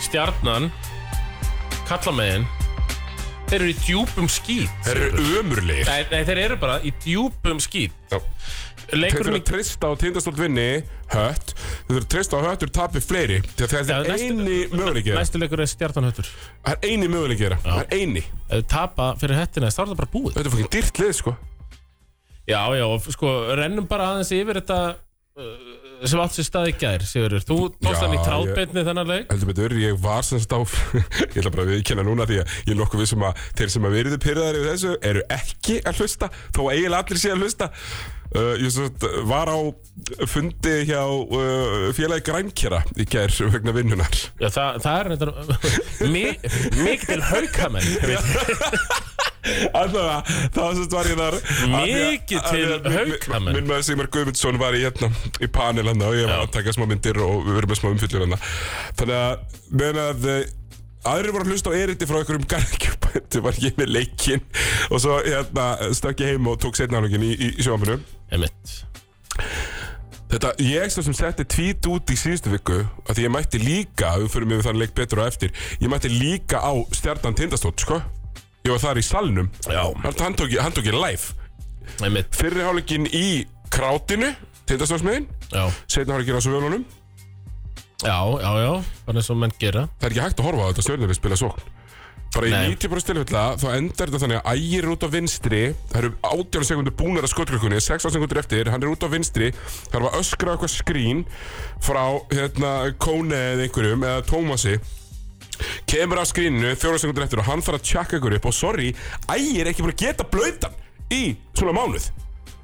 C: Stjarnan Kallamegin Þeir eru í djúpum skýt
B: Þeir eru ömurlegir
C: Nei, nei, þeir eru bara í djúpum skýt
B: Já. Þeir þurfa
C: Leikurinn
B: að treysta á tindastólt vinni Hött Þeir þurfa að treysta á höttur tapi fleiri Þegar
C: Já,
B: það er
C: næstu-
B: eini möguleikir
C: Næstu leikur er stjartanhöttur Ef
B: Það er eini möguleikir Það er eini
C: þau tapa fyrir hettina þá er það bara búið
B: Þetta er fokkin dýrt lið sko
C: Já, já, og sko, rennum bara aðeins yfir þetta uh, sem átt sér stað í gær, Sigurður Þú
B: Já,
C: tókst hann í
B: ég-
C: trátbeinni þennan leik
B: Heldur betur, ég var sem sagt á Ég ætla bara að viðkenna núna því að ég er nokkuð vissum að Þeir sem að veriðu pyrraðar yfir þessu eru ekki að hlusta Þó að eiginlega allir sé að hlusta uh, Ég sem sagt var á fundi hjá uh, félagi Grænkjara í gær vegna vinnunar
C: Já, það, það er þetta mi, Mikið til haukamenn
B: Alltaf að það sem sagt var ég þar af því að-
C: Mikið
B: af því að minn-
C: til haukamenn.
B: Minn maður Sigmar Guðmundsson var í hérna í panel hann og ég var
C: Já.
B: að taka smá myndir og við verðum með smá umfyllur hann Þannig að meðan að eh, aðrir voru að hlusta á erindi frá einhverjum garðkjöpættu var ég með leikinn og svo hérna stökk ég heim og tók setna hálfingin í, í sjónvarpinu
C: Emitt
B: Þetta, ég svo sem setti tvít út í síðustu viku að því ég mætti líka, ef við fyrir mig við þann leik betur á eftir ég mætti líka á stjarnan tindastótt, sko ég var þar í salnum
C: Já.
B: hann, hann, tók, ég- hann tók ég live
C: Emitt,
B: fyrri hálfleikin í krátinu tindastóttsmiðin,
C: já,
B: setna hálfleikin á svölunum
C: já, já, já Þannig sem menn gera
B: það er ekki hægt að horfa á þetta stjórnir spila sókn bara í
C: Nei.
B: 90% tilfella þá endar þetta þannig að ægir er út á vinstri það eru 18 sekundur búnar að skotklökunni 16 sekundur eftir, hann er út á vinstri þarf að öskra á eitthvað skrín frá hérna Kone eða einhverjum eða Tómasi kemur af skríninu fjóra sekundur eftir og hann þarf að tjekka ykkur upp og sorry, ægir er ekki búin að geta blöytan í svona mánuð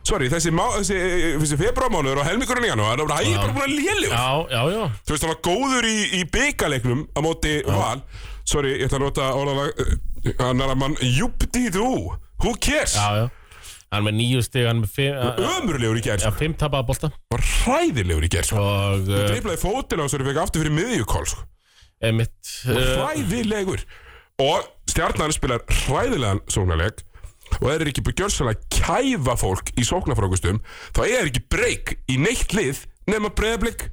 B: sorry, þessi, má, þessi, eh, þessi februarmánuður og helmingurinn í janúar, þá er ægir bara búin að léljum
C: Já, já, já
B: Þú veist, hann var góður í, í byggaleiknum á móti val Sorry, ég ætla að nota orðalag uh, Hann er að mann Júpdíðú Who cares?
C: Já, já Hann er með nýju stig, hann er með fimm, að- að-
B: Ömurlegur í gerð
C: að fimm tapaða bolta
B: Var hræðilegur í gerð
C: Og uh,
B: Dreiflaði fótinn á þessu og fekk aftur fyrir miðjukól sko.
C: emitt uh,
B: Hræðilegur Og stjarnan spilar hræðilegan sóknarleik Og þeir eru ekki byggjörsalega kæfa fólk í sóknarfrókustum Þá er ekki breyk í neitt lið Nefna breyðablik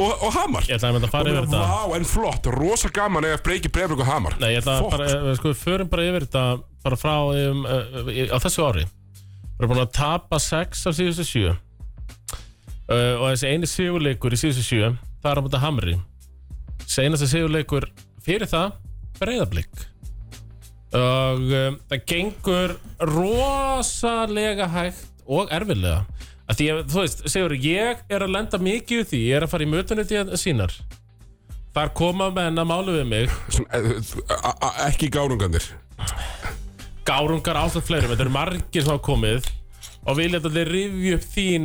B: og, og hamar
C: Ég ætlaði að mynda að
B: Og
C: fara
B: meina,
C: yfir þetta
B: Vá, en flott, rosa gaman ef breyki breyflug og hamar
C: Nei, ég ætla að
B: Fuck.
C: bara, eh, sko, við förum bara yfir þetta bara frá um, uh, á þessu ári Við erum búin að tapa 6 á síðustu 7 uh, og þessi eini sigurleikur í síðustu 7 það er á mútið Hamri Seinasta sigurleikur fyrir það breyðablík og um, það gengur rosalega hægt og erfilega að því að, þú veist, Sigur, ég er að lenda mikið úr því, ég er að fara í mötunni til sínar Þar koma menn að málu við mig
B: Svona, eh, a- a- Ekki gárungandir
C: Gárungar ásamt fleirum Þetta eru margir sem hafa komið Og vilja þetta allir rifja upp þín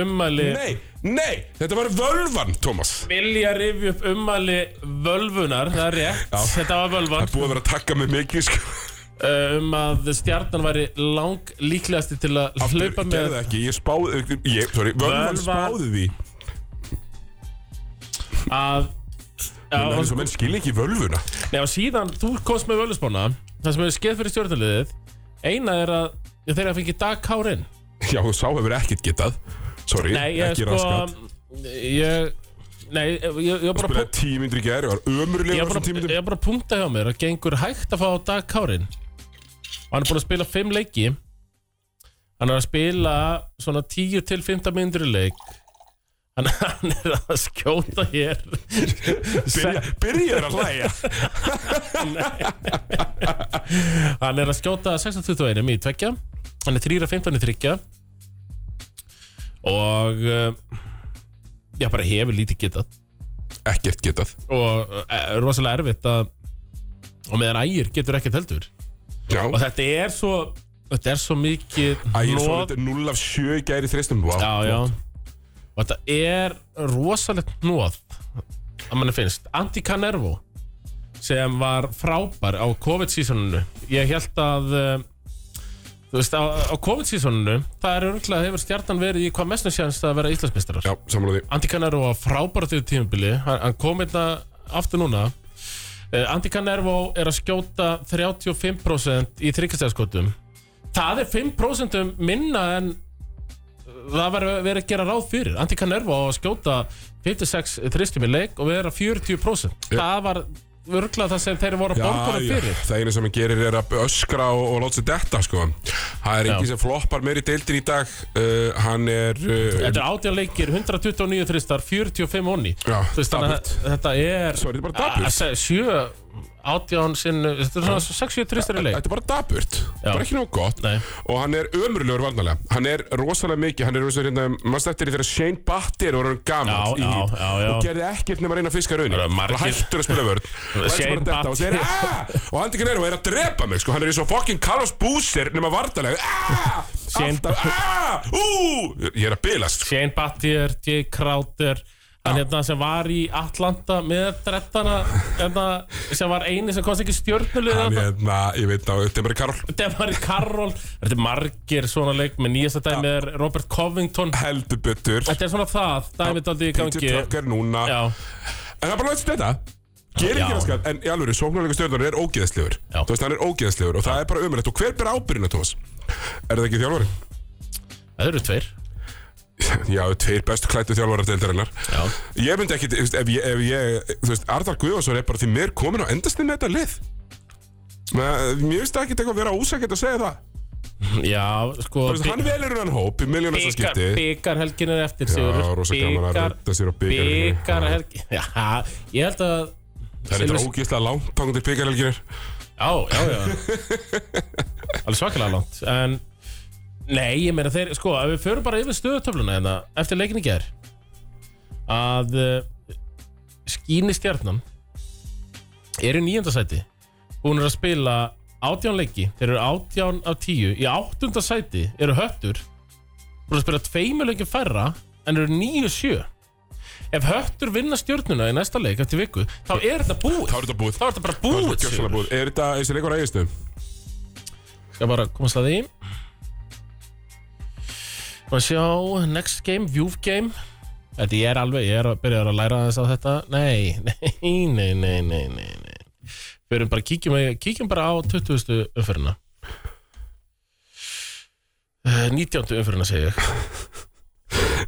C: ummæli
B: Nei, nei, þetta var völvan, Thomas
C: Vilja rifja upp ummæli völvunar Það er rétt, þetta var
B: Það er
C: völvan
B: búið að vera að taka mig mikið sko.
C: uh, Um að stjarnan væri lang líklegasti til að
B: Aftur,
C: hlaupa
B: gerði
C: með
B: það ekki, ég spáði eh, ég, sorry, Völvan
C: Völvan-
B: spáði því
C: að Já,
B: Það er
C: sko. og
B: eins og menn skilja ekki völvuna
C: Nei og síðan, þú komst með völusbána Það sem hefur skeið fyrir stjórnarliðið Eina er að já, þeir eru að fengi dag Kárin
B: Já, þú sá hefur ekkert getað Sorry,
C: Nei, ég
B: ekki
C: sko
B: raskat
C: Ég Nei, ég, ég, ég var bara
B: Spilaði tíu myndir í gæri og var
C: Ég
B: ömurlega
C: var
B: þessum tíu
C: bara, ég
B: myndir
C: var bara að punkta hjá mér að gengur hægt að fá dag Kárin og hann er búin að spila 5 leiki hann er að spila svona 10 til 15 myndur í leik hann, hann er að skjóta hér
B: Byrja, Byrjar að hlæja
C: hann er að skjóta 16-21 í tvekja hann er 3-15 í þryggja og eh, já bara hefur lítið getað
B: Ekkert getað
C: og eh, rosalega erfitt að og meðan ægir getur ekkert heldur
B: Já,
C: og þetta er svo þetta er svo mikið
B: ægir svo
C: hnoð-
B: þetta 0 af 7 í gæri þreistum Vá,
C: já, já. og þetta er rosalegt nóð að manni finnst Andy Canervo sem var frábær á COVID-sísoninu ég held að eh, þú veist, á, á COVID-sísoninu það er örgulega hefur stjarnan verið í hvað mestum sjans að vera Íslandsmeistarar
B: já sammála því
C: Andy Canervo var frábær á því tímubili hann, hann kom hérna aftur núna Eh, Andy Canervo er að skjóta 35% í þryggastæðaskotum það er 5% um minna en það var verið að gera ráð fyrir Andy Canervo á að skjóta 56 þristum í leik og vera 40% það var örglað það sem þeir voru að
B: Já,
C: borga
B: já,
C: fyrir
B: það einu sem hann gerir er að öskra og, og láta sér detta sko. Það er engin sem floppar meiri deildin í dag uh, Hann er uh,
C: Þetta er 18 leikir, 129 þristar, 45 onni
B: Já,
C: Þú veist þannig að
B: dapurt.
C: þetta er
B: Sorry, þetta er bara dapurt.
C: að- að- Sjö, 18 sinn Þetta er svona 60 þristar í leik
B: Þetta er bara daburt,
C: Já.
B: bara ekki nóg gott
C: Nei.
B: Og hann er ömurlegur varnalega Hann er rosalega mikið, hann er rosalega hérna Manst eftir því þegar Shane Batter og hann gammal
C: Já, já, já, já.
B: Og gerði ekkert nema að reyna að fiska raunin
C: Það eru margir-
B: Bara hættur að spila vörn Lætur
C: Shane
B: bara detta Og segir, aaaah Og hann ekki neina og er að drepa mig, sko Hann er eins og fucking Carlos Boozer nema varnalega Aaaah
C: Shane-
B: Alltaf, aaaah, ú Ég er að bilast, sko
C: Shane Battier, Jay Crowder hann hérna sem var í Atlanta með drettana hérna, sem var eini sem komst ekki stjórnulega
B: Hann
C: hann
B: hérna, ég veit þá, þetta er bara Karol
C: Demari Karol þetta er margir svona leik með nýjasta dæmi er Robert Covington
B: Heldur betur
C: þetta er svona það, dæmi daldi í gangi
B: Peter Tucker núna
C: já,
B: En það er bara næst þetta Gerir
C: Já.
B: ekki raskat, en í alvöru, sóknarleika stjórnar er ógeðslegur
C: Já.
B: Þú veist, hann er ógeðslegur og það er bara umrætt Og hver ber ábyrðina, Thomas? Er það ekki þjálfari?
C: það eru tveir
B: Já, tveir bestu klættu þjálfarar deildarinnar
C: Já.
B: Ég myndi ekki, þú veist, ef ég, ef ég Þú veist, Arnar Guðvarsson er bara því mér komin á endastin með þetta lið Men, Mér finnst ekki eitthvað að vera ósækert að segja það
C: já, sko
B: Þú veist, hann velur hann hóp í
C: byggar,
B: miljónarsaskipti
C: byggar helgin er eftir
B: Já, rosa gaman að
C: byggar,
B: rönda sér á bikarhelginni.
C: byggar helgin já, ég held að
B: Það er eitthvað ógeðslega langt, þangur til byggarhelginir
C: Já, já, já Alveg svakalega langt En Nei, ég meina þeir Sko, ef við förum bara yfir stöðutöfluna hérna Eftir leikin í ger Að uh, Skíni stjarnan Eru í nýjönda sæti Hún er að spila átján leiki Þeir eru átján af tíu Í áttunda sæti eru höttur Hún er að spila tveimu leikin færra En eru nýju sjö Ef höttur vinna stjörnuna í næsta leik eftir viku, þá er þetta búið.
B: Þá er þetta búið
C: Þá er þetta bara búið. Sigurður.
B: Gjörsamlega búið. Er þetta eins og leikur ægistu?
C: Skal bara komast að því Og sjá Next game, view game Þetta ég er alveg, ég er að byrja að læra þess að þetta Nei, nei, nei, nei, nei, nei, nei. Fyrir bara, kíkjum, kíkjum bara á 20. umferðina Eh, 19. umferðina segi ég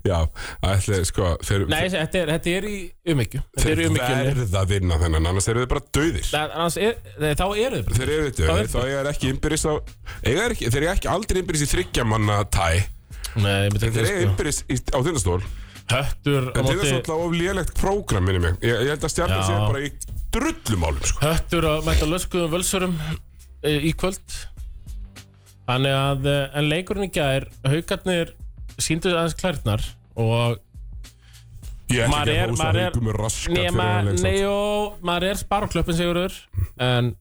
B: Já, ætli, sko, þeir,
C: Nei, ég segi, þetta er, þetta er í umhyggju Þetta er í
B: þeir
C: umhyggju
B: verða að vinna þennan, annars eru þeir bara dauðir.
C: er, nei, Þá eru þið bara
B: Þeir eru
C: Það
B: dauðir,
C: er-
B: þá eiga þeir ekki innbyrðis á... Eiga þeir ekki, þeir eiga ekki aldrei innbyrðis í þryggjamanna tæ.
C: Nei, ég
B: En
C: myndi ekki
B: þeir eiga
C: sko.
B: innbyrðis í, á tindastól.
C: Höttur á
B: En
C: móti
B: tindastól á of lélegt prógram, minni mig. Ég, ég held að stjarnan
C: Já.
B: sé bara í drullumálum, sko.
C: Höttur að mæta löskuðum völsurum e, í kvöld Þannig að e, en leikurinn í gær haugarnir síndu aðeins klærnar og
B: Ég ætla
C: Maður
B: ekki að
C: er-
B: hósa
C: maður er-
B: haukum með raskat fyrir
C: Nema,
B: hann
C: nei
B: leiksamt.
C: og maður er sparklöppin sigurur En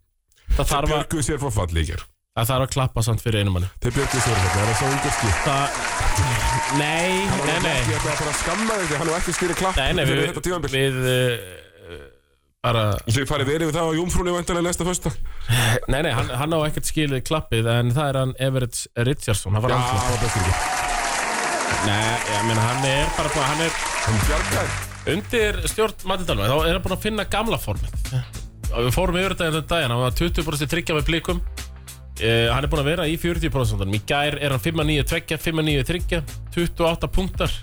C: það
B: Þeir
C: þarf að,
B: björguðu sér frá falli í ger
C: það þarf að klappa samt fyrir einu manni
B: Þeir björguðu sér frá falli, það er svo ungarski
C: Það, nei, nei, nei
B: Ég ætla bara að skamma þig, því hann var ekki skýri klapp
C: Nei, nei,
B: fyrir
C: við,
B: þetta tímanbíl
C: við uh, bara,
B: Þeir farið verið við það á Jómfrúni vantanlega næsta fösta
C: nei, nei, hann, hann á ekkert skilið klappið en það er hann Everett Richardson, hann var
B: Já, það
C: andlið.
B: Ah, var bestur ekki
C: Nei, ég meina, hann er bara búin, hann er
B: Hann fjarkar
C: undir stjórn Matti Dalmæ, þá er hann búin að finna gamla formið. Og við fórum yfir þetta enn daginn, hann var 20% tryggja með blikum, eh, hann er búin að vera í 40%, í gær er hann 5-9 tveggja, 5-9 tryggja, 28 punktar,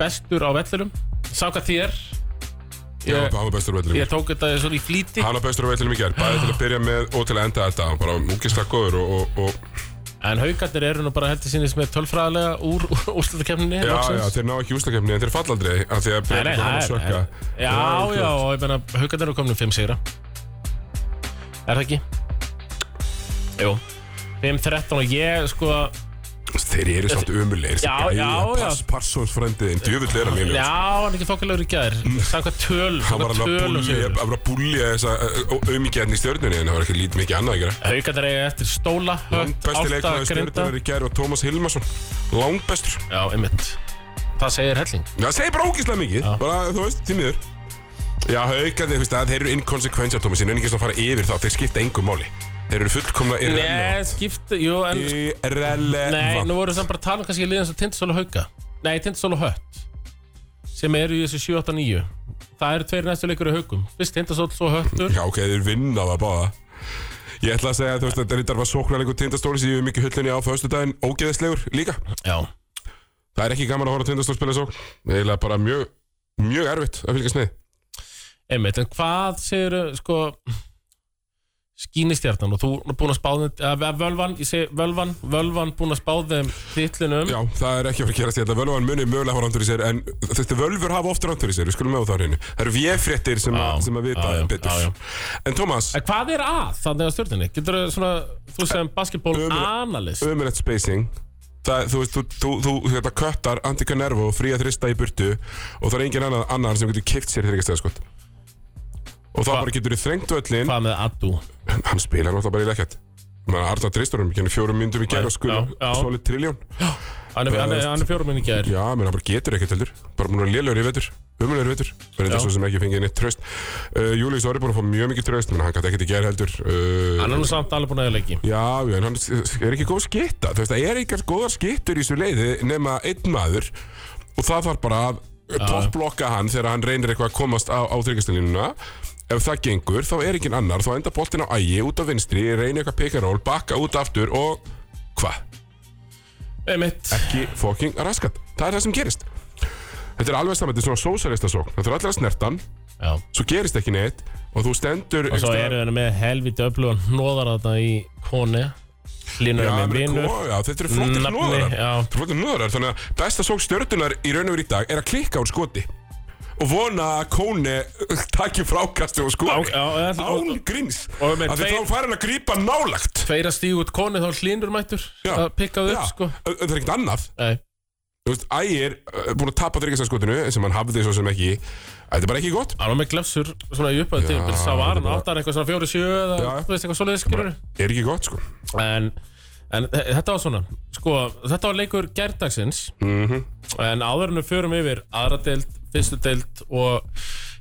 C: bestur á vellurum, sáka þér,
B: Já,
C: ég,
B: hann var bestur á vellinu
C: ég tók þetta svona í flíti.
B: Hann var bestur á vellinu í ger, bæði til að byrja með og til að enda þetta Hann bara múkislega góður og, og, og
C: En haugarnir eru nú bara heldur sínist með tölfræðilega úr úrslutakefninni
B: Já, já, þeir ná ekki úslakefni en þeir fall aldrei af Því að
C: Nei,
B: byrja
C: nei,
B: að
C: það er
B: sökka
C: Já, já, og ég meina haugarnir eru komin um 5 sigra Er það ekki? Jú 5-13 og ég sko
B: Þeir eru samt ömulegir
C: Já, já, já.
B: Parsons frendiðin, djöfull er hann lélegur.
C: Já, hann er ekki fokkilegur í gær Samkvæmt töl
B: Hann var
C: Samkvæmt
B: alveg
C: töl
B: að búlja,
C: og sigur
B: að búlja þessa auðmikjarni í stjörnunni en það var ekki lítið mikið annað að gera.
C: Haugarnir eiga eftir stóla Hött,
B: Langbesti
C: átta,
B: leikmaður
C: grinda
B: stjörnunnar í gær var Tómas Hilmarsson. Langbestur.
C: Já, einmitt Það segir helling
B: Það segir bara ógíslega mikið, bara þú veist, því miður. Já, haugarnir, þú veist, það þeir eru inkonsekvensja, Tómas, ég nefnir ekki að fara yfir þá, þeir skipta engum máli. Þeir eru fullkomna
C: Nei, skipti, jú, en Nei,
B: irrelevant.
C: nú voru samt bara að tala um kannski liðan sem Tindastóla Hauka Nei, Tindastóla Hött sem eru í þessu 7-8-9 Það eru tveir næstu leikur í Haukum Fyrst Tindastóla, svo Höttur
B: Já, ok, þeir vinna það báða. Ég ætla að segja, þú veist, þetta reyndar var sóknarleikur tindastóli sem ég hef mikið hullinni á föstudaginn, ógeðislegur líka.
C: Já,
B: Það er ekki gaman að horfa tindastóli spila sókn. Eiginlega bara mjög, mjög erfitt að fylgjast með.
C: einmitt, en hvað segir sko skínistjarnan og þú er búin að spáða að völvan, ég segi völvan völvan búin að spáða þeim titlinum
B: Já, það er ekki að fara að gerast í þetta Völvan munir mögulega hafa rándur í sér En þetta völvur hafa ofta rándur í sér Við skulum með á það hreinu Það eru véfréttir sem,
C: Já,
B: að- sem að vita
C: já, já,
B: betur
C: já, já.
B: En Thomas,
C: En hvað er að þannig að stjórninni? Getur þú svona, þú sem basketból
B: Ömurlegt.
C: analyst
B: ömulegt spacing það, Þú veist, þú, þú, þú þetta köttar Antika Nervo, frí að þrista í burtu Og það er engin annar, annar sem getur kipt sér þegar ekki stegðskot sko. Og þá
C: Hva-
B: bara getur þið þrengt öllin
C: Hvað með Addu?
B: Hann spila náttúrulega bara í lekkert Man, Arna Dreisturum, kynni fjórum myndum í
C: Já,
B: gerð og skula
C: já, já.
B: Solid trilljón
C: Hann er, hann er, hann er fjóruminn í gær
B: Já, menn hann bara getur ekkert heldur Bara múin að lélugur í vetur Umulur í vetur Það er
C: Já.
B: þetta svo sem ekki fengið neitt traust uh, Július Orri búin að fá mjög mikið traust Menn hann gæti ekkert í gerð heldur uh,
C: Hann er nú samt alveg búin að eða leiki
B: Já, já, en hann er ekki góð skitta Þú veist, það er eitthvað góðar skittur í þessu leiði Nema einn maður Og það þarf bara að toppblokka hann Þegar hann reynir eitthvað að komast á, á þryggjastanlínuna Ef það gengur, þá er engin annar Þá enda boltinn á ægi, út á vinstri Reynir eitthvað pekaról, bakka út aftur Og hvað?
C: Einmitt
B: ekki fucking raskat það er það sem gerist þetta er alveg saman, þetta er svona sósarista sókn það þarf allir að snertan,
C: Já
B: svo gerist ekki neitt og þú stendur
C: Og svo eru þeir með helviti öflugan hnóðar þarna í koni Línu
B: Já,
C: er með
B: menn,
C: vinnur
B: ko- já, þetta eru flottir
C: Nafni,
B: hlóðarar
C: já.
B: Þetta eru flottir hlóðarar Þannig að besta sók stjörnunar í raun og veru í dag er að klikka úr skoti og vona að Kóni takki frákastu og skori
C: Á- já, já,
B: án
C: og-
B: grins
C: og með
B: af því
C: tveir-
B: þá fær hann að grípa nálagt
C: Tveir að stígu út koni þá er hlínur mættur Að pikkað upp sko
B: það er ekkert annað
C: Nei
B: Þú veist, Ægir uh, búin að tapa þryggjastaskotinu sem hann hafði svo sem ekki Þetta er bara ekki gott
C: Hann var með glefsur svona í upphæðu tíma Sá var hann áttar eitthvað svona fjóri sjö eða
B: Já.
C: þú veist eitthvað svoleiðis skilur
B: Er ekki gott sko
C: En En þe- þetta var svona, sko, þetta var leikur gerdagsins
B: Mhm.
C: En áður en við förum yfir aðra deild, fyrstu deild og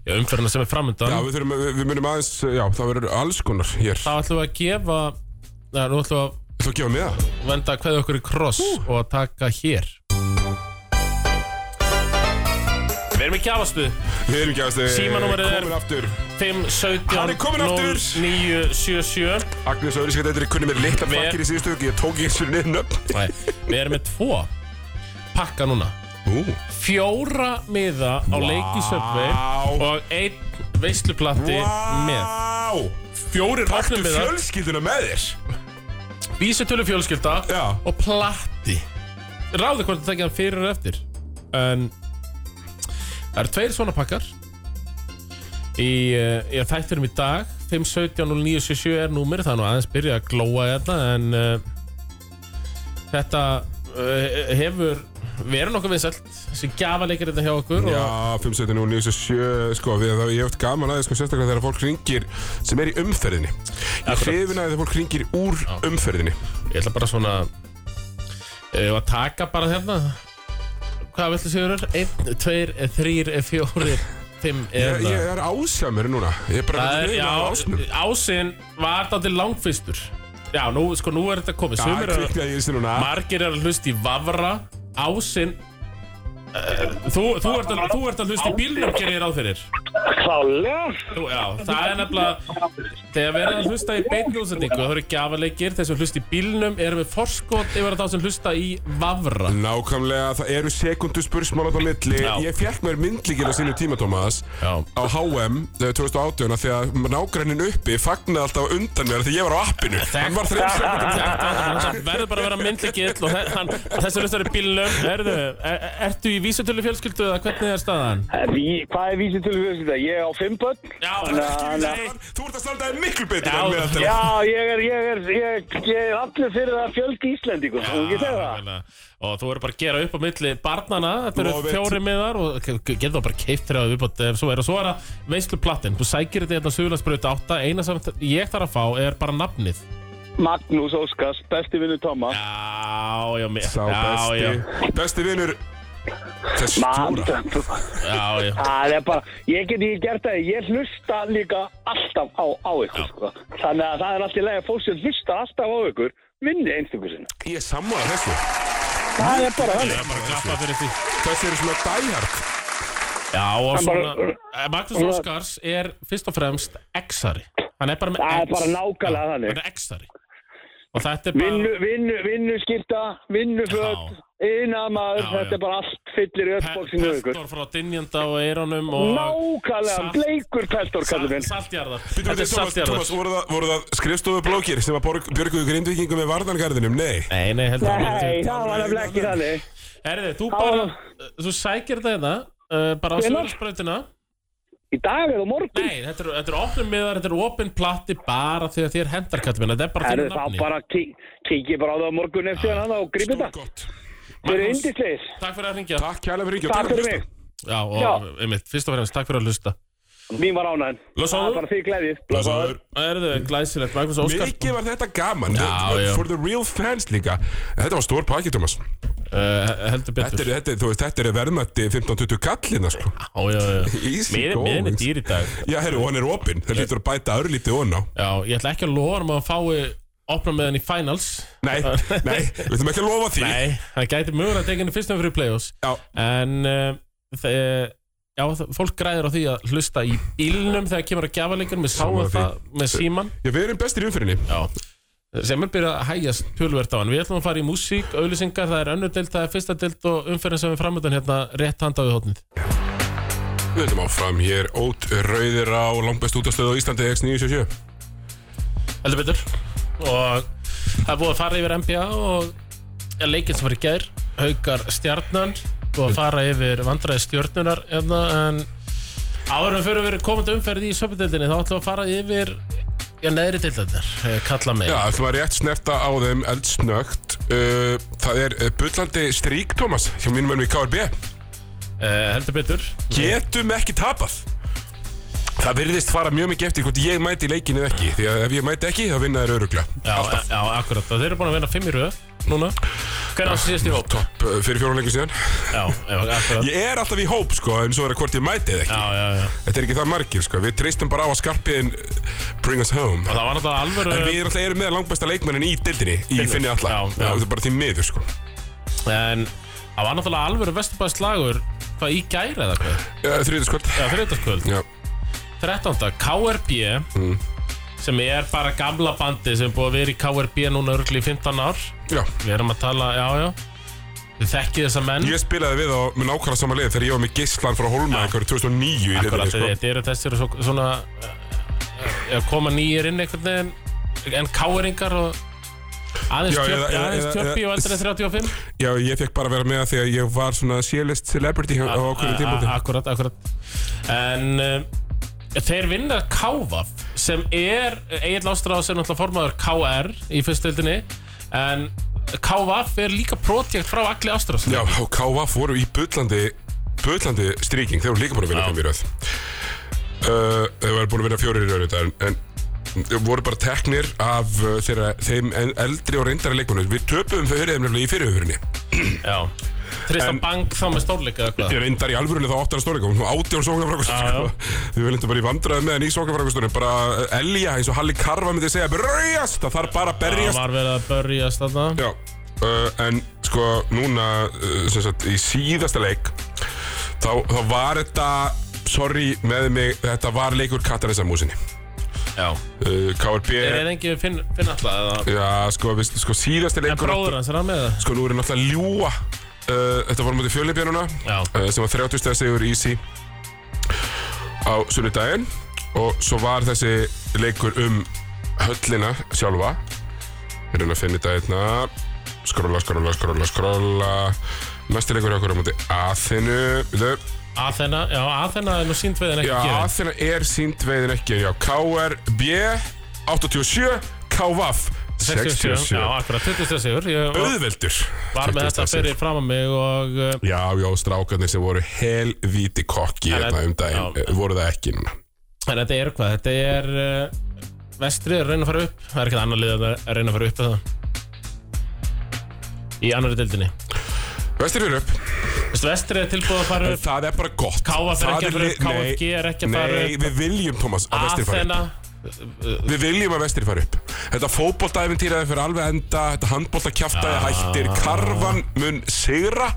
C: já, umferðina sem er framöndan
B: Já, við, þurfum, við, við munum aðeins, já, það verður alls konar hér
C: Þá ætlum við að gefa, neða, nú ætlum við að
B: Þú gefa með það
C: venda að kveða okkur í kross og að taka hér Við erum í gjafastu
B: Við erum ekki aðeins eh,
C: Símanúmerið er-
B: Komin aftur
C: 5, 17,
B: Hann er kominn aftur.
C: 9, 7, 7
B: Agnes Öðriska, þetta er kunni mér litla
C: Við-
B: pakkir í síðustu hug Ég tók ekki eins og niður nöfn
C: Nei, Við erum með tvo pakka núna
B: Ú,
C: Fjóra miða á wow. leiki söpvei og einn veisluplatti með Fjórir
B: Þú
C: opnum miðar,
B: fjölskylduna með þér
C: vísutölu fjölskylda
B: Já.
C: og platti Ráði hvort það tekja hann fyrir og eftir En Það eru tveir svona pakkar Í, eh, í þætturum í dag 5.17.09.77 er númir Það er nú aðeins byrja hérna, eh, að glóa þetta En uh, Þetta uh, hefur Við erum nokkuð viðsælt sem gjafa leikir hérna hjá okkur og
B: Já, 579 og 97, sko, við, það, ég hef haft gaman aðeins, sko, sérstaklega þegar fólk ringir sem er í umferðinni. Ég
C: Akkurat.
B: hrifin að þegar fólk ringir úr umferðinni.
C: ég ætla bara svona Ég var að taka bara hérna Hvað viltu Sigurður? eh, 1, 2, 3, 4, 5
B: Ég, ég er ásjamur núna. Ég er bara
C: Hérna. Það er,
B: hrifinn
C: já,
B: af ásnum.
C: ásinn var dátil langfistur Já, nú, sko, nú er þetta komið
B: Það
C: Sumir eru,
B: kviknaði í þessu núna.
C: margir eru að hlusta í Vavra Ásinn uh, þú, þú, ert að, þú ert að hlusta í bílnum gerir ég ráð fyrir
D: Klálega.
C: þú, Já, það er nefnilega Þegar við erum að hlusta í beinni útsendingu Það eru gjafaleikir, þeir sem hlusta í bílnum Erum við forskot yfir að þá sem hlusta í Vavra
B: Nákvæmlega, það eru sekundu spursmálat á milli
C: Já.
B: Ég fekk mér myndlíkina sínu tíma, Tómas
C: Já.
B: Á HM eh, 2018 af Því að nágrænin uppi fagnaði alltaf undan mér af Því ég var á appinu Hann var þreim sekundum
C: Það verður bara að vera myndlegill og þe- hann- þessi hlustar í bílnum Herðu, er, ertu í vísutölu fjölskyldu eða hvernig er staðan?
D: Eh, Ví, hvað er vísið til fjölskylda? Ég er á fimm börn.
C: Já,
D: Ná, ná.
B: Þú ert að standa þér miklu betur
C: Já.
B: en með þetta
D: Já, ég er, ég er, ég, ég er allir fyrir það fjöldi Íslendingum. Þú ekki segja það?
C: nákvæmlega. Og þú verður bara að gera upp á milli barnana Þetta eru
B: Love it.
C: fjóri miðar og getur það bara keift þrjáðu upp ef svo er og svo er það veisluplatin Þú sækir þetta hérna Suðurlandsbröð 8 Eina sem ég þarf að fá er bara nafnið
D: Magnús Óskars, besti vinnu Thomas.
C: Já, já, mér
B: Sá
C: já, já,
B: besti Besti vinur Þess
D: Man,
B: stúra
C: já, já.
D: það er bara, ég get ekki gert það, ég hlusta líka alltaf á, á ykkur, sko. Þannig að það er alltaf lega fólk sem hlusta alltaf á ykkur, vinni einstaklega sinna.
B: Ég er sammála þessu
D: Það er bara þannig.
C: Ég er bara að klappa fyrir því
B: Þessi eru svona dæhjart
C: Já, og
D: Hann
C: svona
D: bara-
C: eh, Magnús
D: Hann-
C: Óskars er fyrst og fremst X-ari Hann er bara með
D: Það er
C: X.
D: bara nákvæmlega
C: Já,
D: þannig.
C: Hann er X-ari Og þetta er bara
D: Vinnu, vinnu, vinnu skipta, vinnu föt, innamaður,
C: Já,
D: þetta
C: já.
D: er bara allt fyllir í öll bóksinu ykkur.
C: Pestor frá Dynjanda og Eironum og
D: Nákvæmlega,
C: Salt-
D: bleikur peltor, kallum minn.
C: Saltjarðar
B: Býtum
C: Þetta
B: við
C: er
B: Tómas, Tómas,
C: saltjarðar
B: voru það, voru það skrifstofublókir sem að borg- björguðu grindvikingum með varðangarðinum? Nei
C: Nei, nei, heldur
D: Nei, það var nefnilega ekki þannig.
C: Herði, þú
D: Það
C: bara,
D: var-
C: þú sækir þetta hérna, uh, bara á
D: Hvenær?
C: Sigurðsbrautina
D: Í dag eða á morgun?
C: Nei, þetta eru- þetta eru opnum miðar, þetta eru opinn platti bara þegar þér hendar kallum Þetta er bara
D: Það
C: þínu
D: er Ah, þá
C: nafni
D: bara kikið bara á það á morgun eftir hann og gripið það.
B: Stórgott
D: Þau eru indisleis.
C: Takk fyrir að ringja
B: Takk kælega fyrir
D: Takk fyrir mig.
C: Já, og
D: Já.
C: einmitt, fyrst og fremst, takk fyrir að hlusta
D: Mín var ánæðin.
C: Blessaður.
D: Það er bara því gleðið.
B: Blessaður.
C: Erðu, glæsilegt, Magnús Óskar
B: Mikið var þetta gaman
C: Já, já.
B: For the real fans líka Þetta var stór pakki, Thomas
C: uh,
B: Þetta
C: Heldur betur
B: er, þetta, er- þú veist, þetta er verðmætti 15-20 kallina sko.
C: Já, já, já
B: Easy
C: Miðin miðin er
B: goings.
C: dýr í dag
B: Já, herru, og hann er opinn Það lítur að bæta örlítið ofan á
C: Já, ég ætla ekki að lofa um að hann fái opna með hann í finals
B: Nei, nei, við ætlum ekki að lofa því
C: Nei, hann gæti mögulega að teka henni fyrstum fyrir play-offs
B: Já,
C: En uh, þe- Já, þ- fólk græðir á því að hlusta í bílnum þegar kemur að gjafaleikun Við sáum
B: Sammála því.
C: það með síman
B: já, við erum bestir í umfyrinni
C: Já sem er byrjað að hægjast tölvert á hann Við ætlum að fara í músík, auðlýsingar, það er önnur deild, það er fyrsta deild og umferðin sem er framöndan hérna rétt handa við hóttnið
B: Við ætlum áfram, ég er ót rauðir á langbest útastöðu á Íslandi X977
C: heldur betur og það er búið að fara yfir NBA og leikinn sem var í gær haukar stjarnan búið að fara yfir vandræði stjörnunar hérna, en áðurum fyrir við erum komandi umferð í söpudildinni þá ætlum við að fara yfir já, neðri eh, dildarnar, kalla mig
B: Já, ætlum að rétt snerta á þeim eldsnögt uh, Það er uh, bullandi strík, Thomas Hjá mínum önum í KRB
C: Eh, heldur betur
B: Getum ekki tapað Það virðist fara mjög mikið eftir hvort ég mæti í leikinu ekki Því að ef ég mæti ekki, þá vinna þér örugla
C: já, já, akkurat, og þeir eru búin að vinna fimm í röð núna, hvernig á síðast í hóp já,
B: Topp uh, fyrir fjórum leikum síðan
C: já, akkurat já,
B: Ég er alltaf í hóp, sko, en svo er það hvort ég mæti eða ekki
C: já, já,
B: Þetta er ekki það margir, sko Við treystum bara á að skarpiðin uh, bring us home
C: og það var náttúrulega alvöru
B: En við alltaf erum með langbæsta leikmannin í dildinni Í
C: Finnur.
B: finni alla
C: Já, já.
B: Það er bara því miður, sko
C: en það var náttúrulega alvöru vesturbæðslagur hvað í gæri eða hvað,
B: uh, Þriðutaskvöld
C: já, þriðutaskvöld
B: Já, Mm.
C: 13. KRB sem er bara gamla bandi sem er búið að vera í KRB núna örgli í 15 ár
B: já
C: við erum að tala, já já við þekkið þessa menn
B: Ég spilaði við á með nákvæmlega sama lið þegar ég var með Geislan frá Holma einhverju 2009 í
C: Akkurat,
B: liðinni, sko.
C: þetta eru þessir svo, svona eh, eh, koma nýjir inn einhvern veginn en káeringar og aðeins
B: Já,
C: tjöppi
B: eða- eða-
C: aðeins
B: eða-
C: tjöppi og eldri en 35
B: Já, ég fekk bara að vera með það þegar ég var svona sélist celebrity á á ákveðinu tímúti.
C: A- a- Akkurat, akkurat En uh, þeir vinna Kávaf sem er Egil Ástráð sem náttúrulega formaður KR í fyrstöldinni en KVF er líka projekt frá Agli Ástrás
B: Já, og KVF voru í bullandi bullandi stríking, þeir voru líka búin að vinna fimm í röð uh, Þeir voru búin að vinna fjórir í röð en, en þeir voru bara teknir af uh, þeirra, þeim en- eldri og reyndari leikunum Við töpuðum þau höfðum nefnilega í fyrirhöfurinni
C: Já Tristan Bank þá með stórleika eða
B: Ég
C: eitthvað
B: reyndar í alvörunni þá áttan að stóleika Hún átján sóknarfrákust
C: Ah. Já, já.
B: Við viljum bara í vandraði með henni í sóknarfrákustunum Bara uh, elja eins og Halli Karfa myndi segja Berjast, það þarf bara að
C: Það
B: berjast
C: var verið að börjast þarna
B: Já, uh, en sko núna uh, sem sagt í síðasta leik þá, þá var þetta sorry með mig, þetta var leikur Katarins að músinni
C: Já
B: uh, KRB
C: Er það engin finn, finn alltaf eða
B: Já, sko, við, sko síðasta
C: En
B: leikur
C: bróður hans er hann með það
B: Sko nú er hann alltaf að ljúa uh, Þetta var mútið fjölibjörnuna
C: Já.
B: uh, sem var 30 stæða sigur í sí á sunnudaginn og svo var þessi leikur um höllina sjálfa Ég reyna að finna þetta hérna Skrolla, skrolla, skrolla, skrolla Næsti leikur hjá okkur á múti Aþenu Þau
C: Athena, já Athena er nú sínt við en ekki
B: Já,
C: gefin
B: Aþena er sínt veiðin ekki Já, KRB 87 KVAF 67
C: Já, akkurat, 20 sigur Ég var-
B: Auðveldur
C: var
B: 20
C: með þetta
B: sigur.
C: fyrir fram að mig og uh,
B: Já, já, strákarnir sem voru helvíti kokki
C: En-
B: hérna um daginn
C: já.
B: eh, voru það ekki núna.
C: En þetta er hvað, þetta er uh, Vestrið er að reyna að fara upp Það er ekkert annar lið að að reyna að fara upp eða Í annari dildinni
B: Vestir fyrir upp,
C: Veistu, Vestrið er tilbúið að fara upp
B: það er bara gott.
C: KF
B: Það
C: er ekki að fara upp,
B: li- nei,
C: KFG er ekki að fara
B: Nei,
C: upp
B: við viljum, Thomas, að vestir fara upp.
C: Athena
B: Við viljum að vestir fara upp. Þetta fótboltaævintýraði fyrir alveg enda, þetta
C: Ah.
B: handboltakjaftaði hættir, karvan mun sigra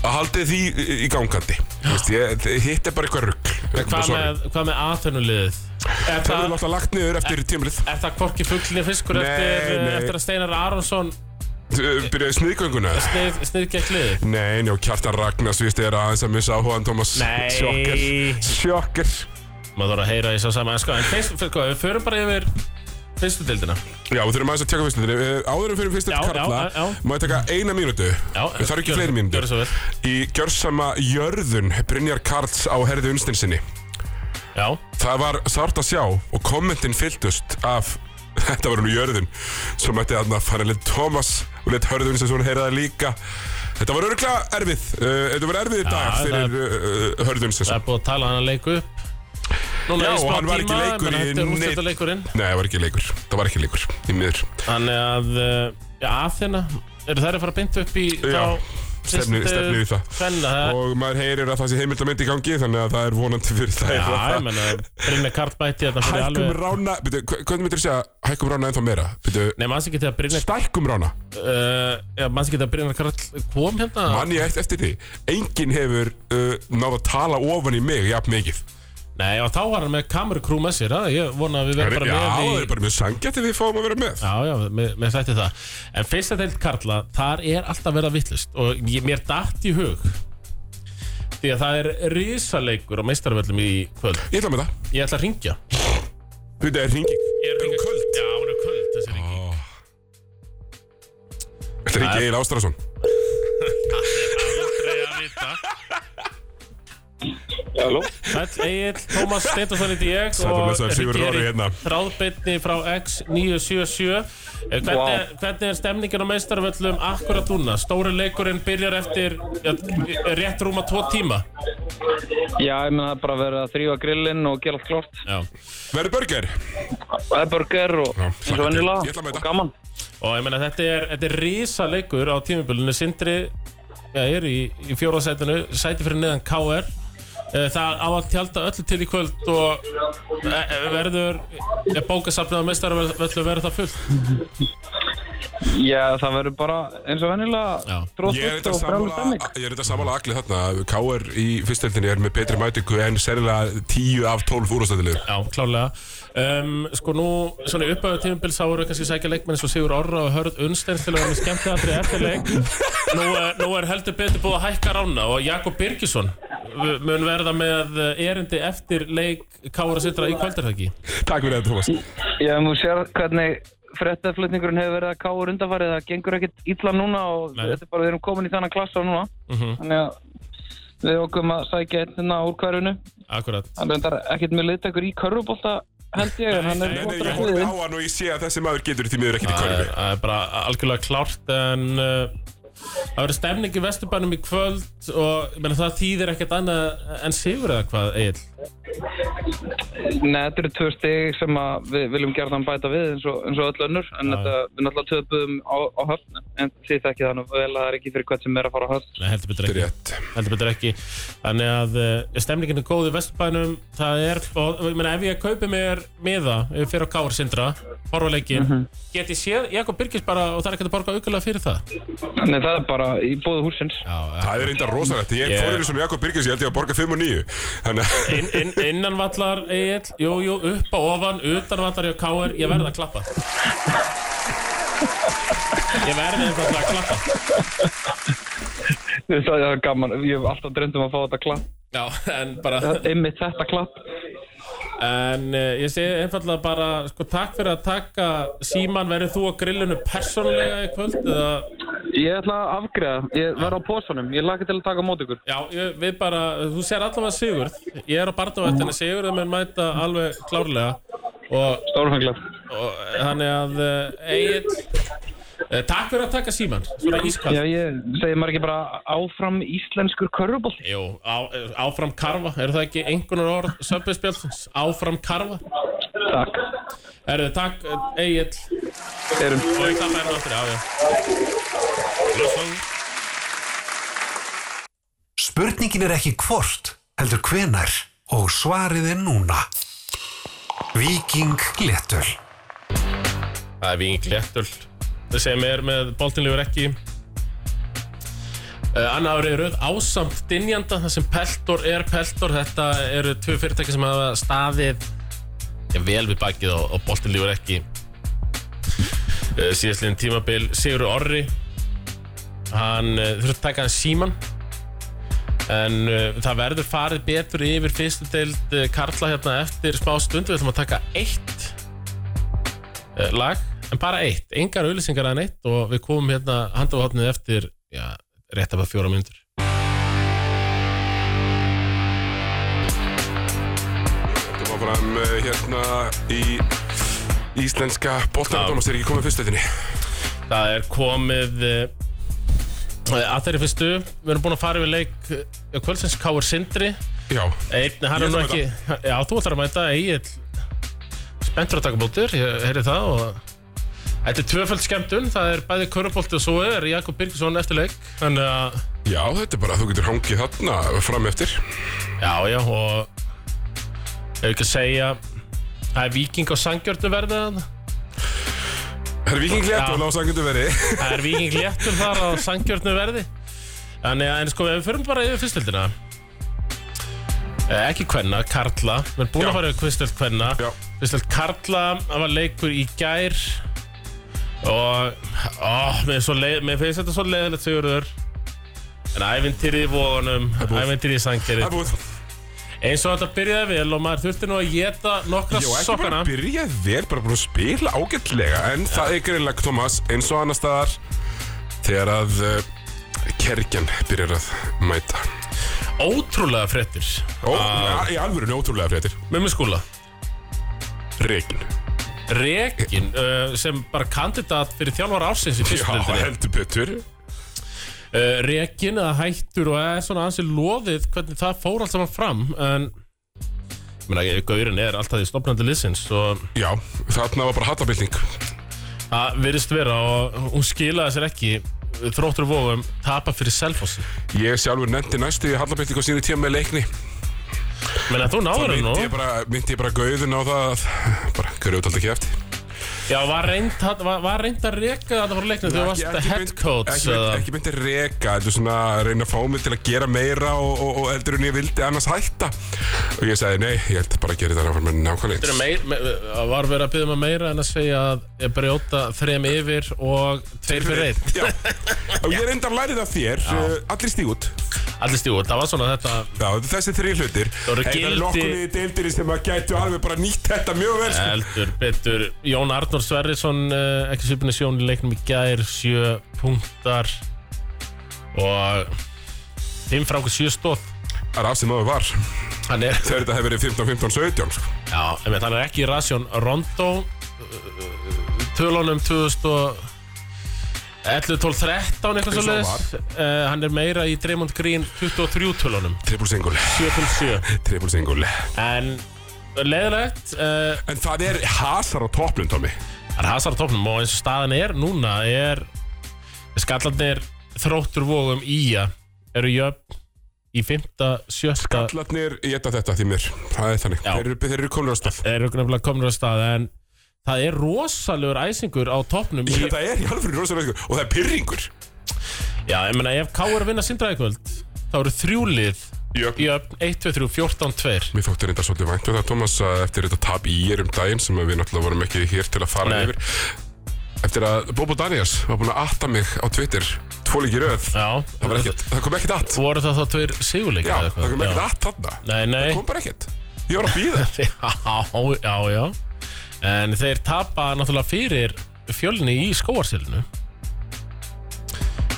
B: að haldið því í- í gangandi. Þú Veist, ég, hitt er bara eitthvað rugg.
C: Hvað með, hvað með Athena-liðið? Er
B: Það er
C: það, Eh.
B: náttúrulega lagt niður eftir tímlið.
C: er það korki fugglinni fiskur
B: Nei,
C: eftir, eh,
B: nei.
C: eftir að Steinar Aronsson
B: eh, Byrjaði sniðgönguna.
C: snið, sniðgekk liðið?
B: Nei, njó, Kjartan Ragnars, víst, er aðeins að missa áhugaðan, Tómas.
C: Nei.
B: Sjokker. Sjokker.
C: Maður þarf að heyra því svo saman En sko, en fyrst, fyrst, sko, við förum bara yfir fyrstu dildina
B: Já, við þurfum aðeins að tjekka fyrstundinni. Áðurum fyrir fyrstund
C: Já, já,
B: Karla,
C: já, já.
B: má ég taka eina mínútu? Já. Við þarfum ekki
C: gjörðu-
B: fleiri
C: gjörðu
B: mínútur.
C: svo vel.
B: Í gjörsama jörðun Brynjar Karls á herði unstinsinni.
C: Já,
B: Það var sárt að sjá og kommentin fylltust af Þetta var hún í jörðin Svo mætti hann að fara leitt Thomas og leitt hörðun sem hún heyrði það líka Þetta var örgulega erfið uh, Þetta var erfið í dag
C: það-
B: fyrir uh, hörðun sem
C: það er búið að tala hann að leiku upp Núna
B: Já,
C: í smá
B: og hann var ekki
C: tíma,
B: leikur
C: menn
B: í
C: Þetta er
B: neitt-
C: úrstölda leikurinn
B: Nei, það var ekki leikur Það var ekki leikur, í miður
C: Þannig að, uh, já, Athena Eru þær að fara beint upp í
B: Já,
C: þá
B: stefnir-
C: fyrstu
B: stefnir í það.
C: kvenna, það
B: Og maður heyrir að það sé heimildamind í gangi Þannig að það er vonandi fyrir það
C: Já, ég menna, Brynja Karl bæti þetta fyrir
B: Hækkum
C: alveg
B: rána, byrju, hva- hvernig myndir þú segja Hækkum rána ennþá meira, byrju
C: Nei, manns ekki þegar Brynja
B: Stækkum rána,
C: uh, Já, manns ekki þegar Brynja Karl kom hérna
B: mann ég eftir, eftir því Enginn hefur uh, náð að tala ofan í mig Jafn mikið
C: Nei, og þá var hann með kamerukrú með sér að Ég vona að við
B: Það er
C: verðum
B: já,
C: bara
B: það
C: með
B: er bara mjög sangjætt Ef við fáum að vera með
C: Já, já, með, með þetta það En fyrsta deild Karla, þar er alltaf verið að vittlust Og ég, mér datt í hug Því að það er risaleikur á meistarvöllum í kvöld
B: Ég ætla með það,
C: Ég ætla að ringja
B: þetta er hringing Um
C: Er hún kvöld? Já, hún er kvöld, þessi ringi
B: Þetta er hringi Egil Ástrásson
C: Aldrei að vita
D: Halló?
C: Sæll Egil, Tómas Steindorsson í DX
B: Sæll og blessaður, Sigurður Orri hérna.
C: þráðbyrni frá X977 Eh, hvernig,
D: Vá.
C: hvernig er stemningin á meistarvöllum akkurat núna? Stóri leikurinn byrjar eftir ja, rétt rúma tvo tíma
D: Já, ég meina það er bara að vera að þrýfa grillinn og gera allt klart.
C: Já.
B: Verður burger?
D: Það er burger og
B: Já,
D: eins og
B: hlakka til.
D: vennilega
B: Ég ætla að mæta.
D: og gaman.
C: og ég meina þetta er, þetta er risa leikur á tímabölinu Sindri ja, er í, í fjóraðsætinu sæti fyrir neðan KR Eh, Það á að tjálta öllu til í kvöld og eh, eh, verður eh, bókasafnið á meistarvöllum verður það fullt
D: Já, það verður bara eins og vennilega
C: Já.
B: Ég er
D: tróðfullt
B: þetta
D: og frálið
B: sammála,
D: stemning.
B: ég er þetta sammála allir þarna K.R. í fyrstöldinni er með betri mætingu en sennilega 10 af 12 úrstæðilegu
C: Já, klálega um, Sko nú, svona í upphæðu tímubils þá voru kannski að sækja leikmenn eins og Sigur Orra og Hörð Unnsteins til að vera með skemmtiðatri eftir leik nú, er- nú er heldur betur búið að hækka rána og Jakob Birgisson v- mun verða með eh, erindi eftir leik Kára Sindra í kvöldarhæki
B: Takk fyrir þetta, Thomas
D: Já, þú sér hvernig frettaflutningurinn hefur verið að káur undanfarið, það gengur ekkert illa núna og
C: Nei.
D: þetta er bara, við erum komin í þannan klassa núna.
B: Mhm.
D: Þannig að við okkum að sækja einnina úr hverfinu.
C: Akkurat
D: Hann reyndar ekkert mjög liðtakur í körfubólta
E: held ég, en hann er
B: Nei, nei,
E: flottur á
B: ég horfi
E: sniði.
B: á hann og ég sé að þessi maður getur því miður ekkert í
C: Það
B: körfi
C: er- það er bara algjörlega klárt en uh, það verður stemning í Vesturbænum í kvöld og ég meina, það þýðir ekkert annað en sigur eða hvað, Egil?
E: Nei, þetta eru tvö stig sem að við viljum gjarnan bæta við eins og, eins og öll önnur en þetta, við náttúrulega töpuðum á, á höfn en því þekki það nú vel að það er ekki fyrir hvert sem er að fara á höfn
C: Nei, heldur betur
B: Þetta er
C: ekki.
B: rétt
C: Heldur betur ekki. Þannig að uh, stemningin er góð í Vesturbænum. Það er, og ég meina, ef ég kaupi mér miða eh, fyrir á Kár Sindra, horfuleikin, get ég séð Jakob Birgis bara og það er ekkert að borga aukulega fyrir það?
E: Nei, það er bara í bóðu húsins
C: Já, já.
B: Það er reynda rosalegt Ég
C: Ég-
B: fór einu svona Jakob Birgis Ég held ég að borga 5 og 9 Þannig að
C: Inn, inn, innanvallar, Egil, jú, jú, upp á ofan, utanvallar hjá Kár, ég verð að klappa. Ég verði einfallega að klappa.
E: Þú veist að það er gaman, ég hef alltaf dreymt um að fá þetta klapp
C: Já, en bara,
E: einmitt þetta klapp
C: en uh, ég segi einfallega bara, sko, takk fyrir að taka síman, verður þú á grillinu persónulega í kvöld, eða,
E: Ég ætla að afgreða, ég verð á pósunum ég laki til að taka á mót ykkur
C: já, ég, við bara, þú sér allavega Sigurð, ég er á barndaværtinni, Sigurð mun mæta alveg klárlega og,
E: Stórfenglega
C: og þannig að, uh, Egil, uh, takk fyrir að taka síman, svona ískall.
E: Já, ég segi maður ekki bara áfram íslenskur körfuból
C: Jú, á, áfram karfa, eru það ekki einhvernar orð söpbespjálfins? Áfram karfa?
E: Takk,
C: Erðu, takk, Egil,
E: erum
C: og ég klappa hérna aftur, já, já. Blössum.
A: Spurningin er ekki hvort, heldur hvenar og svarið er núna. Viking Léttöl.
C: Það er Víking Léttöl sem er með boltinlegur ekki Uh, Anna árið rauð ásamt dynjanda það sem Peltor er Peltor þetta eru tvö fyrirtæki sem hafa staðið ja, vel við bakið og, og boltinlegur ekki uh, síðastliðin tímabil Sigur Orri hann uh, þurfti að taka hann síman en uh, það verður farið betur yfir fyrstu deild uh, Karla hérna eftir smá stund við ætlum að taka eitt eh, lag, en bara eitt, engar auðlýsingar en eitt og við komum hérna handafátnið eftir, já, rétt af að fjóra myndur.
B: Þetta var fram eh, hérna í Íslenska boltanadómas er ekki komið fyrstöðinni
C: Það er komið eh, að þeirri fyrstu, við erum búin að fara við leik eh, kvöldsins Káur Sindri
B: Já
C: einn, hann
B: Ég
C: er nú
B: ætla að
C: ekki, já, þú ætlar að mæta Egil, spenntur að taka bóttur ég heyri það og Þetta er tvöfald skemmtun, það er bæði Körubolti og svo er Jakob Birgisson eftir leik Þannig að,
B: Já, þetta er bara að þú getur hangið þarna fram eftir
C: já, já, og Ef ekki að segja Það er viking og sangjörnum verðið þannig
B: Það er viking létt og lásangundu veri
C: Það er viking léttur þar á sangjörnu verði Þannig að, en sko, ef við förum bara yfir fyrstöldina eh, Ekki kvenna, Karla Við erum búin
B: Já.
C: að fara yfir fyrstöld kvenna
B: Já.
C: Fyrstöld Karla, það var leikur í gær Og, ó, mér, er svo leið, mér finnst þetta svo leiðilegt, Sigurður En ævintýri í vóðunum, ævintýri í sangjörið
B: Það er búið
C: Eins og þetta byrjaði vel og maður þurfti nú að geta nokkra
B: Jó, ekki bara
C: sokkana
B: að byrja vel, bara búin að spila ágætlega En það er greinlega, Thomas, eins og annar staðar Þegar að uh, kergjan byrjar að mæta
C: Ótrúlega fréttir
B: Ó,
C: Ah.
B: uh. í alvörunni ótrúlega fréttir
C: Með mér skúla
B: Regn
C: Rekin uh, sem bara kandidat fyrir þjálfara ársins í
B: Já,
C: fyrstundinni
B: heldur betur
C: uh, Rekin eða hættur og er svona ansi loðið hvernig það fór allt saman fram en ég meina, Gaurin er alltaf í stopnandi liðsins og
B: Já, þarna var bara hattabilding
C: það virðist vera og hún skilaði sér ekki þróttur vóðum tapa fyrir selfossi
B: Ég sjálfur nefndi næstu í hattabilding á sínu tíma með leikni
C: menna þú náður hann nú
B: Myndi ég bara, myndi ég bara gauðin á það að bara grjóta alltaf kæfti
C: já var reynd, þarna- var, var reynd að reka þetta frá leiknum þegar þú varst head coach
B: ekki,
C: eða-
B: myndi, ekki myndi reka Þetta er svona að reyna að fá mig til að gera meira og, og, og eldur en ég vildi annars hætta Og ég sagði nei, ég held bara að gera þetta áfram en
C: Þetta
B: nákvæmlega
C: er
B: eins.
C: meir, me, var verið að byggja mig meira en að segja að ég brjóta þrem yfir og tveir fyrir einn
B: Já, og ég reyndar lærið af þér uh, Allir stíg út
C: Allir stígur, það var svona þetta
B: Já, þessi þrý hlutir
C: voru
B: Hey, Það
C: gildi-
B: er nokkuð í deildirinn sem að gætu alveg bara nýtt þetta mjög vel sko.
C: Eldur, betur Jón Arnór Sverrisson, eh, ekki svipinu sjón í leiknum í gær, sjö punktar og fimm frá okkur sjö stóð
B: að rafsið maður var
C: Hann er,
B: þegar þetta hefur verið 15, 15, 17 sko.
C: já, emi, hann er ekki í rasjón Rondo uh, tölunum 2000 og 11, 12, 13 eitthvað
B: Eins og
C: svo hann er meira í Draymond Green 23 tölunum
B: Triple single,
C: 7-7
B: triple single
C: En leiðilegt uh,
B: En það er hasar á toppnum, Tommy
C: Það er hasar á topnum og eins og staðan er núna er skallandir þróttur vóðum í að eru jöfn í 5. 7.
B: Allarnir í þetta þetta því mér Það er þannig,
C: Já.
B: þeir eru, þeir eru komnir á stað
C: eru nefnilega komnir að stað en það er rosalegur æsingur á topnum í,
B: Þetta er í alveg rosalega sko. Og það er pyrringur
C: Já, ég meina ef K.R. vinna sindraði kvöld þá eru þrjúlið
B: Jöfn.
C: jöfn 1, 2, 3, 14, 2
B: Mér þótti reynda svolítið vænt og það Thomas að eftir þetta tap í ég um daginn sem við náttúrulega vorum ekki hér til að fara
C: Nei.
B: yfir Eftir að Bobo Daniels var búin að atta mig á Twitter Tvoleiki röð
C: Já,
B: það, var ekkert, það kom ekkert att
C: voru það þá tveir sigurleikir
B: Já,
C: eða
B: það
C: eitthvað?
B: kom ekkert att þarna
C: Nei, nei
B: Það kom bara ekkert Ég var að býða
C: Já, já, já En þeir tapa náttúrulega fyrir fjölni í skóarsilinu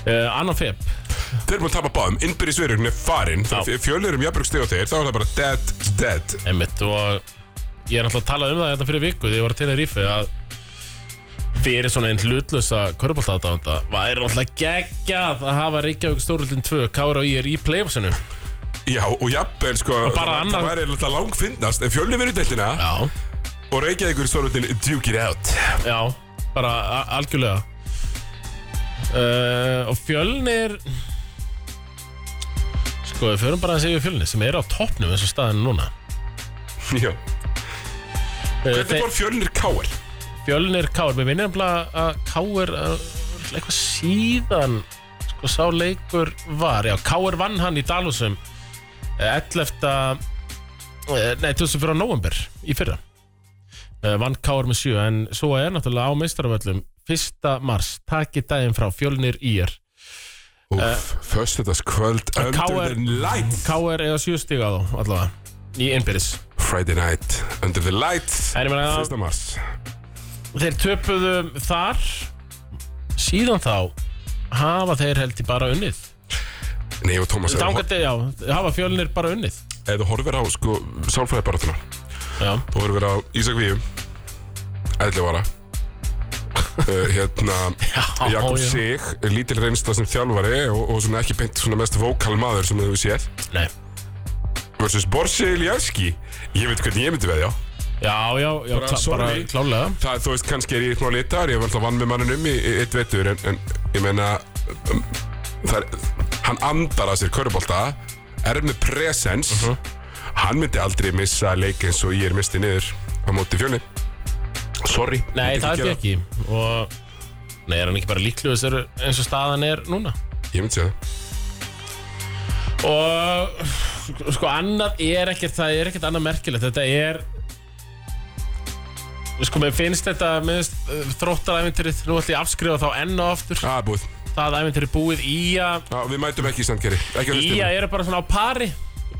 C: uh, Annan feb
B: Þeir eru búin að tapa báðum, innbyrði sverjurinn er farinn
C: Já.
B: Þegar fjölur um jafnbrug steg á þeir, þá er það bara dead, dead
C: Einmitt og ég er náttúrulega að tala um það þetta fyrir viku þegar ég var til að rífi að fyrir svona einn hlutlösa körbóltaðdáðanda væri náttúrulega geggjað að hafa Reykjavík Stórhildin 2 Kára og ég er í playoffsinu
B: Já, og jafnvel sko
C: bara
B: það-
C: annar-
B: Það væri alltaf langfinnast Ef fjölni verið deltina
C: Já,
B: og Reykjavíkur stórutin Duke it out
C: já, bara a- algjörlega uh, Og fjölnir Sko, við förum bara að segja fjölnir sem er á toppnum eins og staðinu núna
B: Já
C: Eh,
B: Hvernig
C: þeir-
B: fór fjölnir káar?
C: Fjölnir Káur, mér minnir nefnilega að Káur uh, eitthvað síðan sko sá leikur var já, Káur vann hann í Dalhúsum eh, 11. eh, nei, 24. november í fyrra Eh, vann Káur með 7 en svo er náttúrulega á meistaraföllum 1. mars, taki daginn frá Fjölnir ír, Eh,
B: Úf, föstudagskvöld Under
C: KR
B: the lights
C: Káur eða 7 stíga þá allavega, í innbyrðis
B: Friday night Under the lights
C: En um, ég meina-
B: Fyrsta mars
C: þeir töpuðu þar síðan þá hafa þeir held ég bara unnið
B: Nei og Tómas ef þú-
C: Þangandi, já, hafa fjölnir bara unnið
B: Ef þú horfir á sko Sálfræðibaratuna
C: Já,
B: Þú horfir á Ísak Víum Æðli vara uh, Hérna
C: Já,
B: Jakob
C: já.
B: Sig Lítil reynsta sem þjálfari og, og svona ekki beint svona mest vókal maður sem þú séð
C: nei
B: Versus Borsi Iljarski Ég veit hvernig ég myndi veðja á
C: Já, já, já,
B: Bara,
C: klá, bara
B: sorry.
C: klálega
B: Það, þú veist, kannski er ég smá litar, ég var alltaf vann með mannum í í eitt vettur, en, en ég meina, um, það er, hann andar að sér körubólta, er með presens, hann myndi aldrei missa leik eins og ég er mistið niður á móti fjölni. Sorry.
C: Nei,
B: myndi
C: það er
B: gera
C: ekki Og, nei, er hann ekki bara líklu þessar eins og staðan er núna
B: Ég myndi segja það.
C: Og, sko, annað er ekkert, það er ekkert annað merkilegt Þetta er Sko, mér finnst þetta, mér finnst þróttaræfintirið Nú ætlum ég að afskrifa þá enn og aftur
B: Það er búið.
C: Það æfintirið búið í að
B: Já, við mætum ekki í Sandgeri. Ekki á
C: Í
B: listinni.
C: að eru bara svona á pari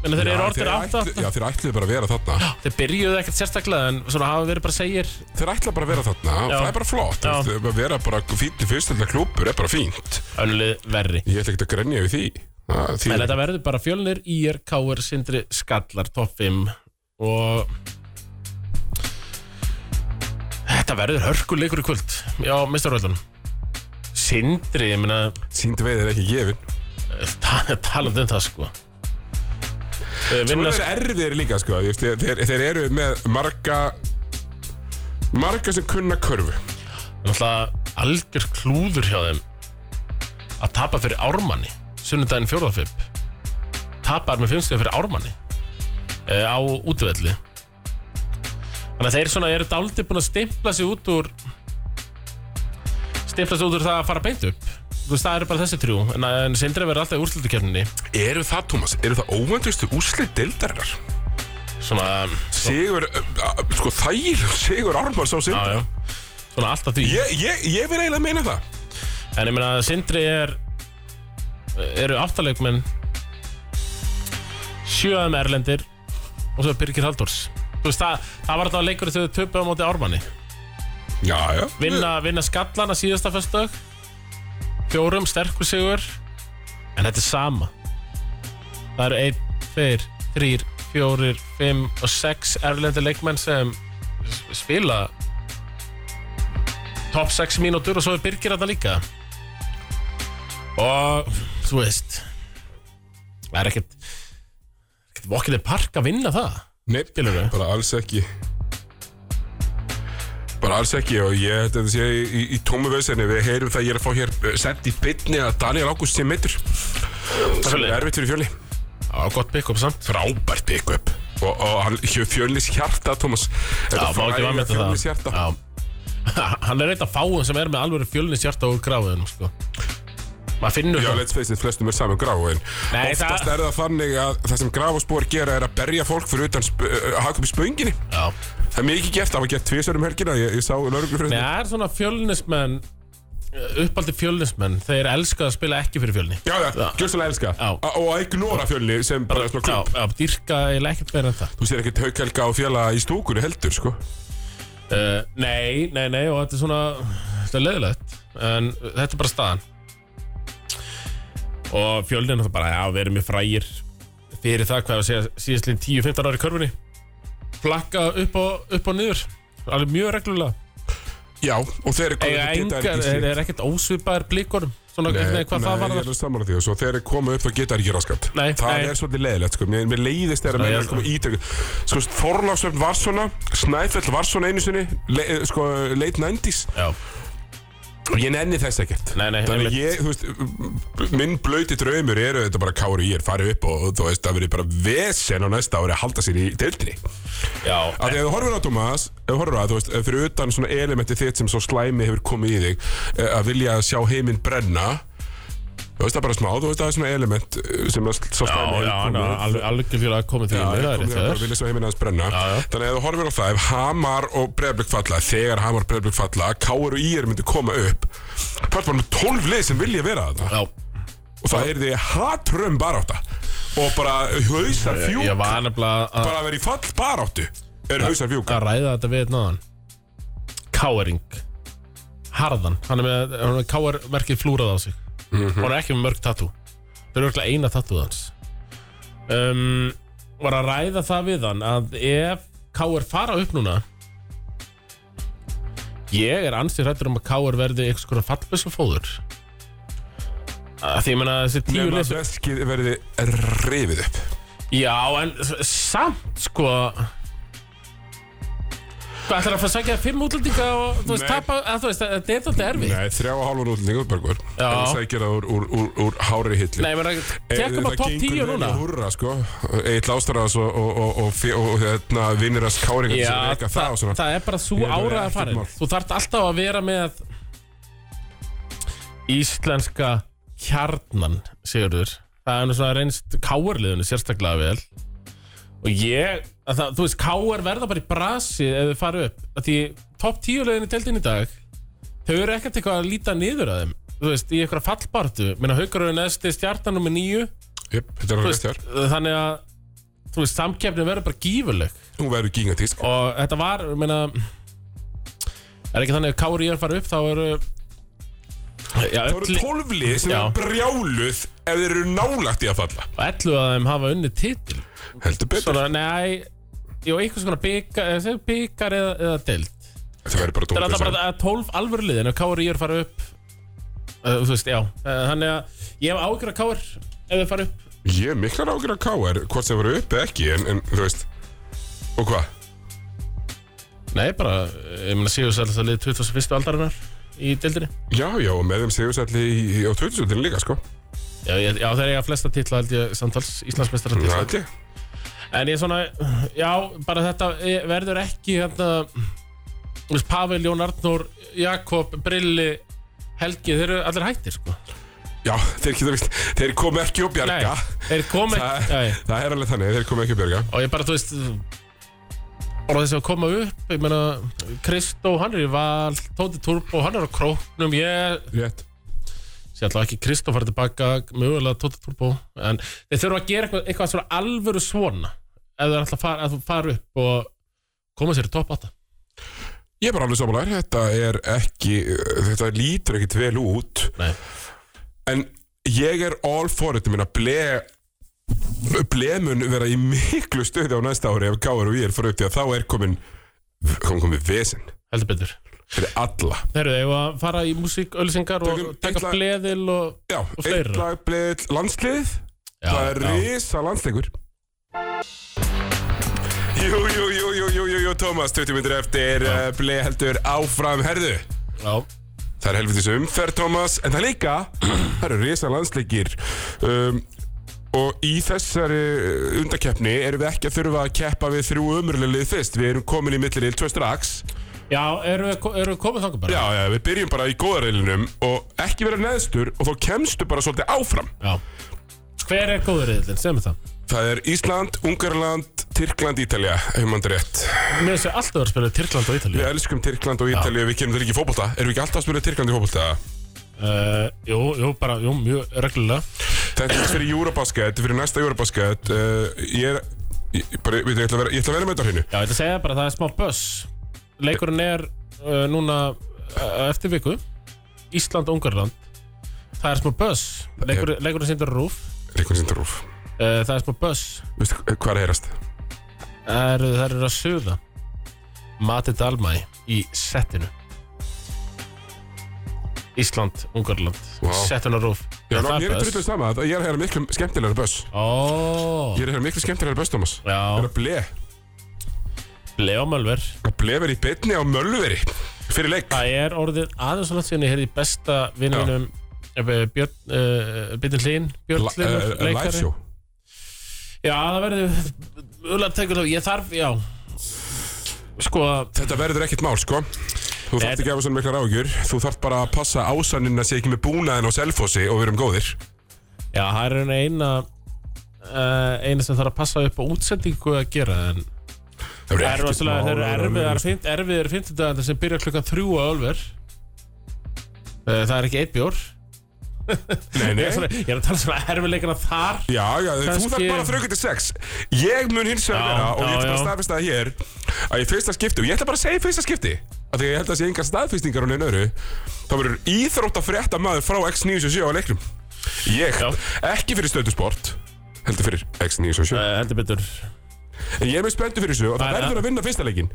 C: En þeir
B: Já,
C: eru orðir átt
B: ætlu- Já, þeir ætluðu bara að vera þarna.
C: Þeir byrjuðu ekkert sérstaklega en svona hafa verið bara segir
B: Þeir ætla bara að vera þarna og
C: Já.
B: það er bara flott.
C: Já.
B: Þú veist, Að vera bara fínt í fyrstölda klúpur er bara fínt.
C: Önlið verri
B: Ég ætla ekki að grenja við því. Það þýðir
C: En þetta verður bara fjölnir, IR, KR, Sindri, Skallar, topp 5 og þetta verður hörkuleikur í kvöld já, mistarvöldunum Sindri, ég meina
B: Sýndi veið er ekki gefin
C: ta- talandi um það sko Eh,
B: Þú
C: vinna,
B: er erfiðir líka sko þú veist, þeir, þeir, þeir eru með marga Marga sem kunna körfu
C: náttúrulega algjör klúður hjá þeim að tapa fyrir Ármanni sunnudaginn fjórðafipp tapar með fimmstöð fyrir Ármanni eh, á útvelli þannig að þeir svona eru dálítið búin að stimpla sig út úr stimpla sig út úr það að fara beint upp þú veist það eru bara þessi trjú en, en sindri verður alltaf í úrslutukefninni
B: Eru það, Tómas, eru það óvöndustu úslið deildarinnar?
C: svona,
B: Sigur, uh, uh, sko þægir Sigur Ármars á
C: já,
B: sindar
C: já, svona alltaf því
B: Ég, ég, ég vil eiginlega meina það
C: En ég meina að Sindri er eru áttaleikmenn sjöðum erlendir og svo er Birgir Halldórs Þú veist, það, það var þetta leikur þegar þau töpuðu á móti Ármanni
B: Já, já
C: vinna, vinna skallana síðasta föstudag fjórum sterkur sigur en þetta er sama það eru einn tveir, þrýr, fjórir, fimm og sex erlendir leikmenn sem s- spila top 6 mínútur og svo er Birgir þetta líka og þú veist það er ekkert ekkert vokkið er park að vinna það
B: Nei,
C: Skilurðu?
B: bara alls ekki Bara alls ekki og ég þetta sé í, í, í tómu veðsenni Við heyrum það að ég er að fá hér eh, sent í bytni að Daniel Ágúst sé meittur Sem er
C: Svoleiðis.
B: erfitt fyrir fjölni
C: á gott pick-up samt
B: Frábært pick-up Og, og hann, hjö- fjölnis hjarta, Thomas Þetta
C: Já, má ekki
B: fræga
C: vanmeta það
B: fjölnis hjarta
C: Já. Hann er eitt af fáum sem er með alveg fjölnis hjarta úr gráðunum sko. Maður finnur
B: Já,
C: það
B: let's face it, flestum er saman grá en
C: Nei,
B: oftast
C: það-
B: er það þannig að það sem gráfaspor gera er að berja fólk fyrir utan sp- uh, hagum í spönginni
C: Já.
B: Það er mikið gert, það var gert tvisar um helgina Ég, ég sá lörglu fyrir
C: Nei, það er svona fjölnismenn uppaldi fjölnismenn, þeir elska að spila ekki fyrir fjölni
B: Já, já, gjörstulega elska
C: Já.
B: A- Og að ignora fjölni sem bara svona
C: Já,
B: klubb
C: já, dýrka eiginlega ekkert meira en það
B: Þú sér ekkert haukhelga og fjalla í stúkunni heldur, sko
C: uh, Nei, nei, nei og þetta er svona þetta er leðilegt, en þetta er bara staðan og fjölnin það bara, já, við erum mjög frægir fyrir það hvað það sé síðast lín 10-15 ári í körfunni flakka upp og, upp og niður alveg mjög reglulega
B: Já, og þeir eru
C: Eiga
B: komnir upp, geta
C: engar,
B: þeir
C: er,
B: ekki
C: er ekkert ósvipaðir blíkorum svona, nei, nei, hvað það var
B: nei, ég er
C: það
B: að samanlega því og svo þeir eru komið upp þá geta þeir ekki raskant
C: Nei,
B: Það
C: nei.
B: er svolítið leiðilegt, sko, mér, mér leiðist þeirra
C: Nei,
B: mér
C: ég-
B: er komið ítöku Sko, Þorláksöfn var svona, Snæfell var svona einu sinni, le, eh, sko, late 90s
C: Já,
B: og ég nenni þess ekkert
C: Nei, nei,
B: Þannig
C: einmitt.
B: að ég, þú veist, minn blöyti draumur eru þetta bara kári ég er farið upp og þú veist, það verið bara vesen á næsta ári að halda sér í deildinni
C: já,
B: Af því að þú horfir á Thomas, ef þú horfir á það, þú veist, fyrir utan svona elementi þitt sem svo slæmi hefur komið í þig, eh, að vilja sjá heiminn brenna, þú veist það er bara smá, þú veist það er svona element eh, sem að sl- svo slæmi
C: Já, já, hann
B: komið.
C: er alveg- alveg fjöla að koma
B: Já,
C: til þínu,
B: ég
C: það er
B: kom
C: rétt
B: þér bara
C: það
B: að vilja sjá heiminn aðeins brenna
C: Já, já.
B: Þannig að ef þú horfir á það, ef Hamar og Breiðblik falla Þegar Hamar og Breiðblik falla, Káur og Ír myndu koma upp Það er bara með 12 lið sem vilja vera þetta
C: Já,
B: Og það er því hatrömm barátta Og bara hausar fjúk
C: ég var nefnilega að-
B: Bara að vera í fall baráttu Er hausar fjúk
C: að ræða þetta við náðan Káering Harðan, hann er með, hann er með Káer merkið flúrað á sig Hann er ekki með mörg tattoo Það er örgulega eina tattooð hans um, Var að ræða það við hann að ef Káer fara upp núna Ég er ansið hrættur um að Káer verði einhvers konar fallbissu fóður Að Því ég meina þessi tíu
B: Nefn
C: lið
B: að
C: sem-
B: veskið verði rifið upp
C: Já, en s- samt sko Hvað ætlar að fara að sækja fimm útlendinga og þú veist,
B: Nei.
C: tapa, að, þú veist, að- þetta er þetta erfið Nei,
B: Nei, þrjá og hálfan útlendingu Bergur
C: Já.
B: En það sækir það úr, úr, úr, úr hári hillu
C: Nei menn, tekum
B: Eh,
C: að top 10
B: Það gengur
C: núna
B: vel í húrra sko Eitt lástaras og, og, og, og, fe- og, og hérna, vinnir hans káringar sem
C: Já,
B: reyka það, og
C: það,
B: svona
C: það er bara svo
B: Ég held að það
C: áraða
B: er
C: farin
B: ekkert mál.
C: Þú þarft alltaf að vera með Íslenska kjarnan, Sigurður Það er nú svona reynst káarliðinu sérstaklega vel Og ég, að það, þú veist, káar verða bara í brasi ef þau fara upp að Því topp 10 lögin í deildin í dag Þau eru ekkert eitthvað að líta niður að þeim Þú veist, í eitthvað fallbartu Minna haugur eru neðsti stjartanum með nýju
B: Jöp, þetta er
C: Þú
B: alveg
C: veist,
B: rétt hér
C: Þannig að, þú veist, samkeppni verður bara gífurleg
B: Hún verður gigantísk
C: og þetta var, ég meina er ekki þannig að Kári er fara upp þá eru já,
B: Það eru
C: öllu,
B: tólflið sem
C: Já.
B: eru brjáluð ef þeir eru nálagt í að falla
C: öllu að þeim hafa unni titil
B: Heldur betur
C: svona, nei Jó, einhvers konar byggar, byggar eða, eða deild
B: Það verður bara
C: Það er alltaf
B: tónlega
C: bara að 12 alvöru liðin ef Kári er fara upp uh, Þú veist, já Eh, Þannig að ég hef ágjör að Kári ef þau fara upp
B: Ég er miklar ágjur að káar Hvort sem verður upp eða ekki En, en þú veist Og hvað?
C: Nei, bara, eh, ég meina séu sæl það lið 21. aldarinnar í deildinni
B: Já, já, og með þeim sigursætli í, í, á 2000 líka sko
C: Já, ég, já þeir eiga flesta titla held ég samtals Íslandsmestara
B: Það held ég
C: En ég svona, já, bara þetta eh, verður ekki hérna þú veist, Pavel, Jón Arnór, Jakob, Brilli, Helgi, þeir eru allir hættir sko.
B: Já, þeir geta vist Þeir komu ekki og
C: Nei,
B: bjarga
C: þeir kom
B: Það,
C: ekki, já, já.
B: það er alveg þannig, þeir komu ekki og bjarga
C: og ég bara, þú veist, bara þessi að koma upp, ég meina, Kristó, hann er í val, Tóti Turbo, hann er á króknum, ég
B: Rétt
C: sé alltaf ekki Kristó fara tilbaka, mögulega Tóti Turbo, en þeir þurfa að gera eitthvað, eitthvað svona alvöru svona, ef þeir alltaf fara, að fara upp og koma sér í topp 8.
B: Ég er bara alveg samanlegar, þetta er ekki, uh, þetta lítur ekkit vel út
C: Nei.
B: En ég er all for þetta, minna ble blemun vera í miklu stöði á næsta ári ef Káur og ég er fyrir því að þá er komin kom komið vesen
C: heldur betur
B: fyrir alla
C: Herru, eigum við að fara í músíkauðlýsingar og
B: Tökum eitt
C: taka
B: lag.
C: bleðil og,
B: Já,
C: og
B: eitt
C: fleira
B: lag bleið landsliðið
C: Já,
B: Það er
C: já.
B: risa landsleikur Jú, jú, jú, jú, jú, jú, jú, Tómas 20 minnir eftir uh, bleið heldur áfram herðu
C: Já,
B: Það er helvitis umferð, Tómas, en það er líka, það eru risa landsleikir. Um, og í þessari undakeppni erum við ekki að þurfa að keppa við þrjú umurlelið fyrst. Við erum komin í milliril tvö strax.
C: já erum við, ko- erum við komið þangað bara?
B: Já, já, við byrjum bara í góðarreilinum og ekki vera neðstur og þá kemstu bara svolítið áfram.
C: Já. Hver er góður reyðlinn, segjum við það
B: Það er Ísland, Ungarland, Tyrkland, Ítalja, ef mann er rétt.
C: Mér finnst við alltaf að vera að spila Tyrkland og Ítalíu
B: Við elskum Tyrkland og Ítalja, við kemum þér ekki í fótbolta. Erum við ekki alltaf að spila Tyrkland í fótbolta?
C: uh, Jú, jú, bara, jú, mjög reglulega
B: Þetta er fyrir Eurobasket, þetta er fyrir næsta Eurobasket uh, Ég er, ég, bara, veit, ég, ætla að vera, ég ætla að vera með þetta á hreinu
C: Já, ég ætla að segja bara að það er smá buss Leikurinn er uh, núna uh, eftir viku Ísland og Ungarland Það er smá buss Leikur, Leikurinn sindur rúf
B: Ríkon Sindarúf,
C: uh, Það er smá buss
B: veistu hva- hvað er að heyrast?
C: Það eru það eru að suða Mati Dalmæ í settinu Ísland, Ungarland
B: Vá.
C: Settinu á rúf
B: Já,
C: Er
B: ná,
C: það
B: mér er
C: buss?
B: drullið sama, að ég er að heyra miklu skemmtilegra buss
C: Ó,
B: Ég er að heyra miklu skemmtilegra buss, Thomas Ég
C: já,
B: er að ble,
C: Leo Mölver
B: að ble verið í beinni á Mölluveri Fyrir leik
C: Það er orðið aðeins og langt síðan ég heyrði í besta
B: Já.
C: vinninum Björn, uh, Björn Hlín Björn
B: La-
C: Hlynur,
B: eh, eh,
C: leikari
B: Live show
C: Já, það verður Ulla tekur það, ég þarf, já Sko,
B: Þetta verður ekkert mál, sko Þú
C: Nei,
B: þarft ekki að hafa svona mikla ráðgjur Þú þarft bara að passa ásannin að sé ekki með búnaðin á selfossi og við erum góðir
C: já, það er einu eina uh, eina sem þarf að passa upp á útsendingu að gera en
B: Það
C: það er rosalega, þeir eru erfiðar fimmt, erfiðar fimmtudagandar sem byrja klukkan þrjú á Ölver uh, Það er ekki eitt bjór
B: Nei,
C: Ég er,
B: nei,
C: svona, ég er að tala svona erfiðleikana þar
B: Já, já, þú
C: Kannski-
B: þarf bara að þrauka til sex Ég mun hins vegar
C: Já,
B: vera og ég ætla
C: já,
B: bara að
C: já.
B: staðfesta það hér að í fyrsta skipti, og ég ætla bara að segja í fyrsta skipti af því að ég held að það sé engar staðfestingar á neina öru þá verður íþrótt að frétta maður frá X977 á leiknum Ég,
C: Já.
B: ekki fyrir stöðusport heldur fyrir X977
C: uh, Heldur betur
B: en ég er mjög spenntur fyrir þessu og það
C: Það er-
B: verður að vinna fyrsta leikin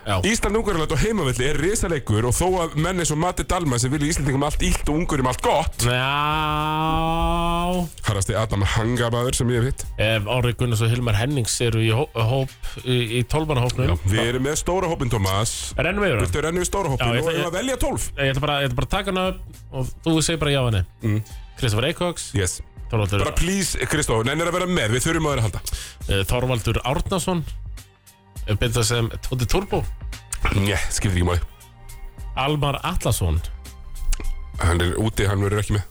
C: Já.
B: Ísland Ungarland og heimavelli er risaleikur og þó að menn eins og Matti Dalman sem vilja Íslandingum allt illt og Ungurum allt gott
C: Já
B: harrasti Adam Hangamaður sem ég hef hitt
C: Ef Ári Gunnars og Hilmar Hennings eru í hó- hóp í, í tólmanahópnum
B: Við erum með stóra hópin Thomas
C: Rennum við yfir hann
B: Þau rennu í stóra hópin
C: Já, ég
B: og
C: ætla-
B: erum að velja 12
C: Ég ætla bara, ég ætla bara að taka hana upp og þú segir bara já henni mm. Kristoffer Eikóks
B: Yes
C: Þorvaldur,
B: Bara please, Kristóf, nennir að vera með, við þurfum að vera að halda
C: eh, Þorvaldur Árnason Binda sem Tóti Turbo
B: Njæ, skiptir ekki máli
C: Almar Atlason
B: Hann er úti, hann verður ekki með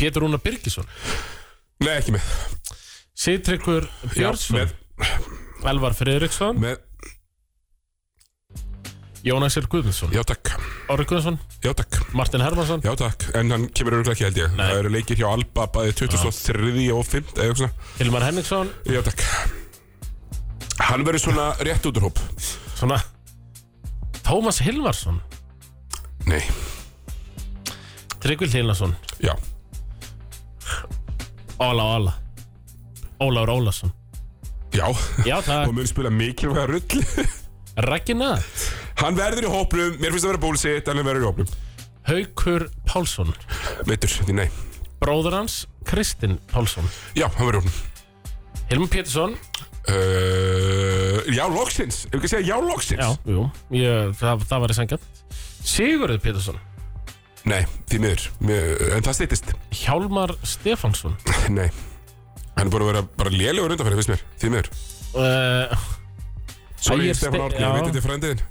C: Pétur Rúnar Birgisson
B: Nei, ekki með
C: Sittryggur
B: Já,
C: Björnsson
B: með,
C: Elvar Friðriksson
B: með,
C: Jónasir Guðmundsson
B: já takk
C: Ári Guðmundsson
B: Já takk,
C: Martin Hermansson
B: já takk En hann kemur örugglega ekki held ég
C: Nei.
B: Það eru leikir hjá Alba bæði 2003 og 5 eða eitthvað svona
C: Hilmar Henningsson
B: Já takk Hann verður svona rétt út úr hóp
C: Svona Tómas Hilmarsson
B: Nei,
C: Tryggvill Hilmarsson
B: já
C: Óla Óla Ólaur Ólason
B: Já,
C: Já
B: og
C: það
B: mun spila mikilvæga rull
C: Raggi Natt
B: Hann verður í hópnum, mér finnst það vera búlsitt En hann verður í hópnum
C: Haukur Pálsson
B: Veitur, því nei
C: Bróður hans Kristinn Pálsson
B: Já, hann verður í hópnum
C: Hilmar Pétursson
B: Uh, já, loksins, ef ekki að segja já, loksins
C: Já, jú, ég, það, það var í sengjant Sigurður Pétursson
B: Nei, því miður, miður, en það stýttist
C: Hjálmar Stefánsson
B: Nei, hann er búin að vera bara lélegur undanferði, finnst mér, því miður
C: uh,
B: Sorry,
C: Ægir
B: Stefán
C: Ste-
B: Árni,
C: já.
B: ég veit þetta er frændin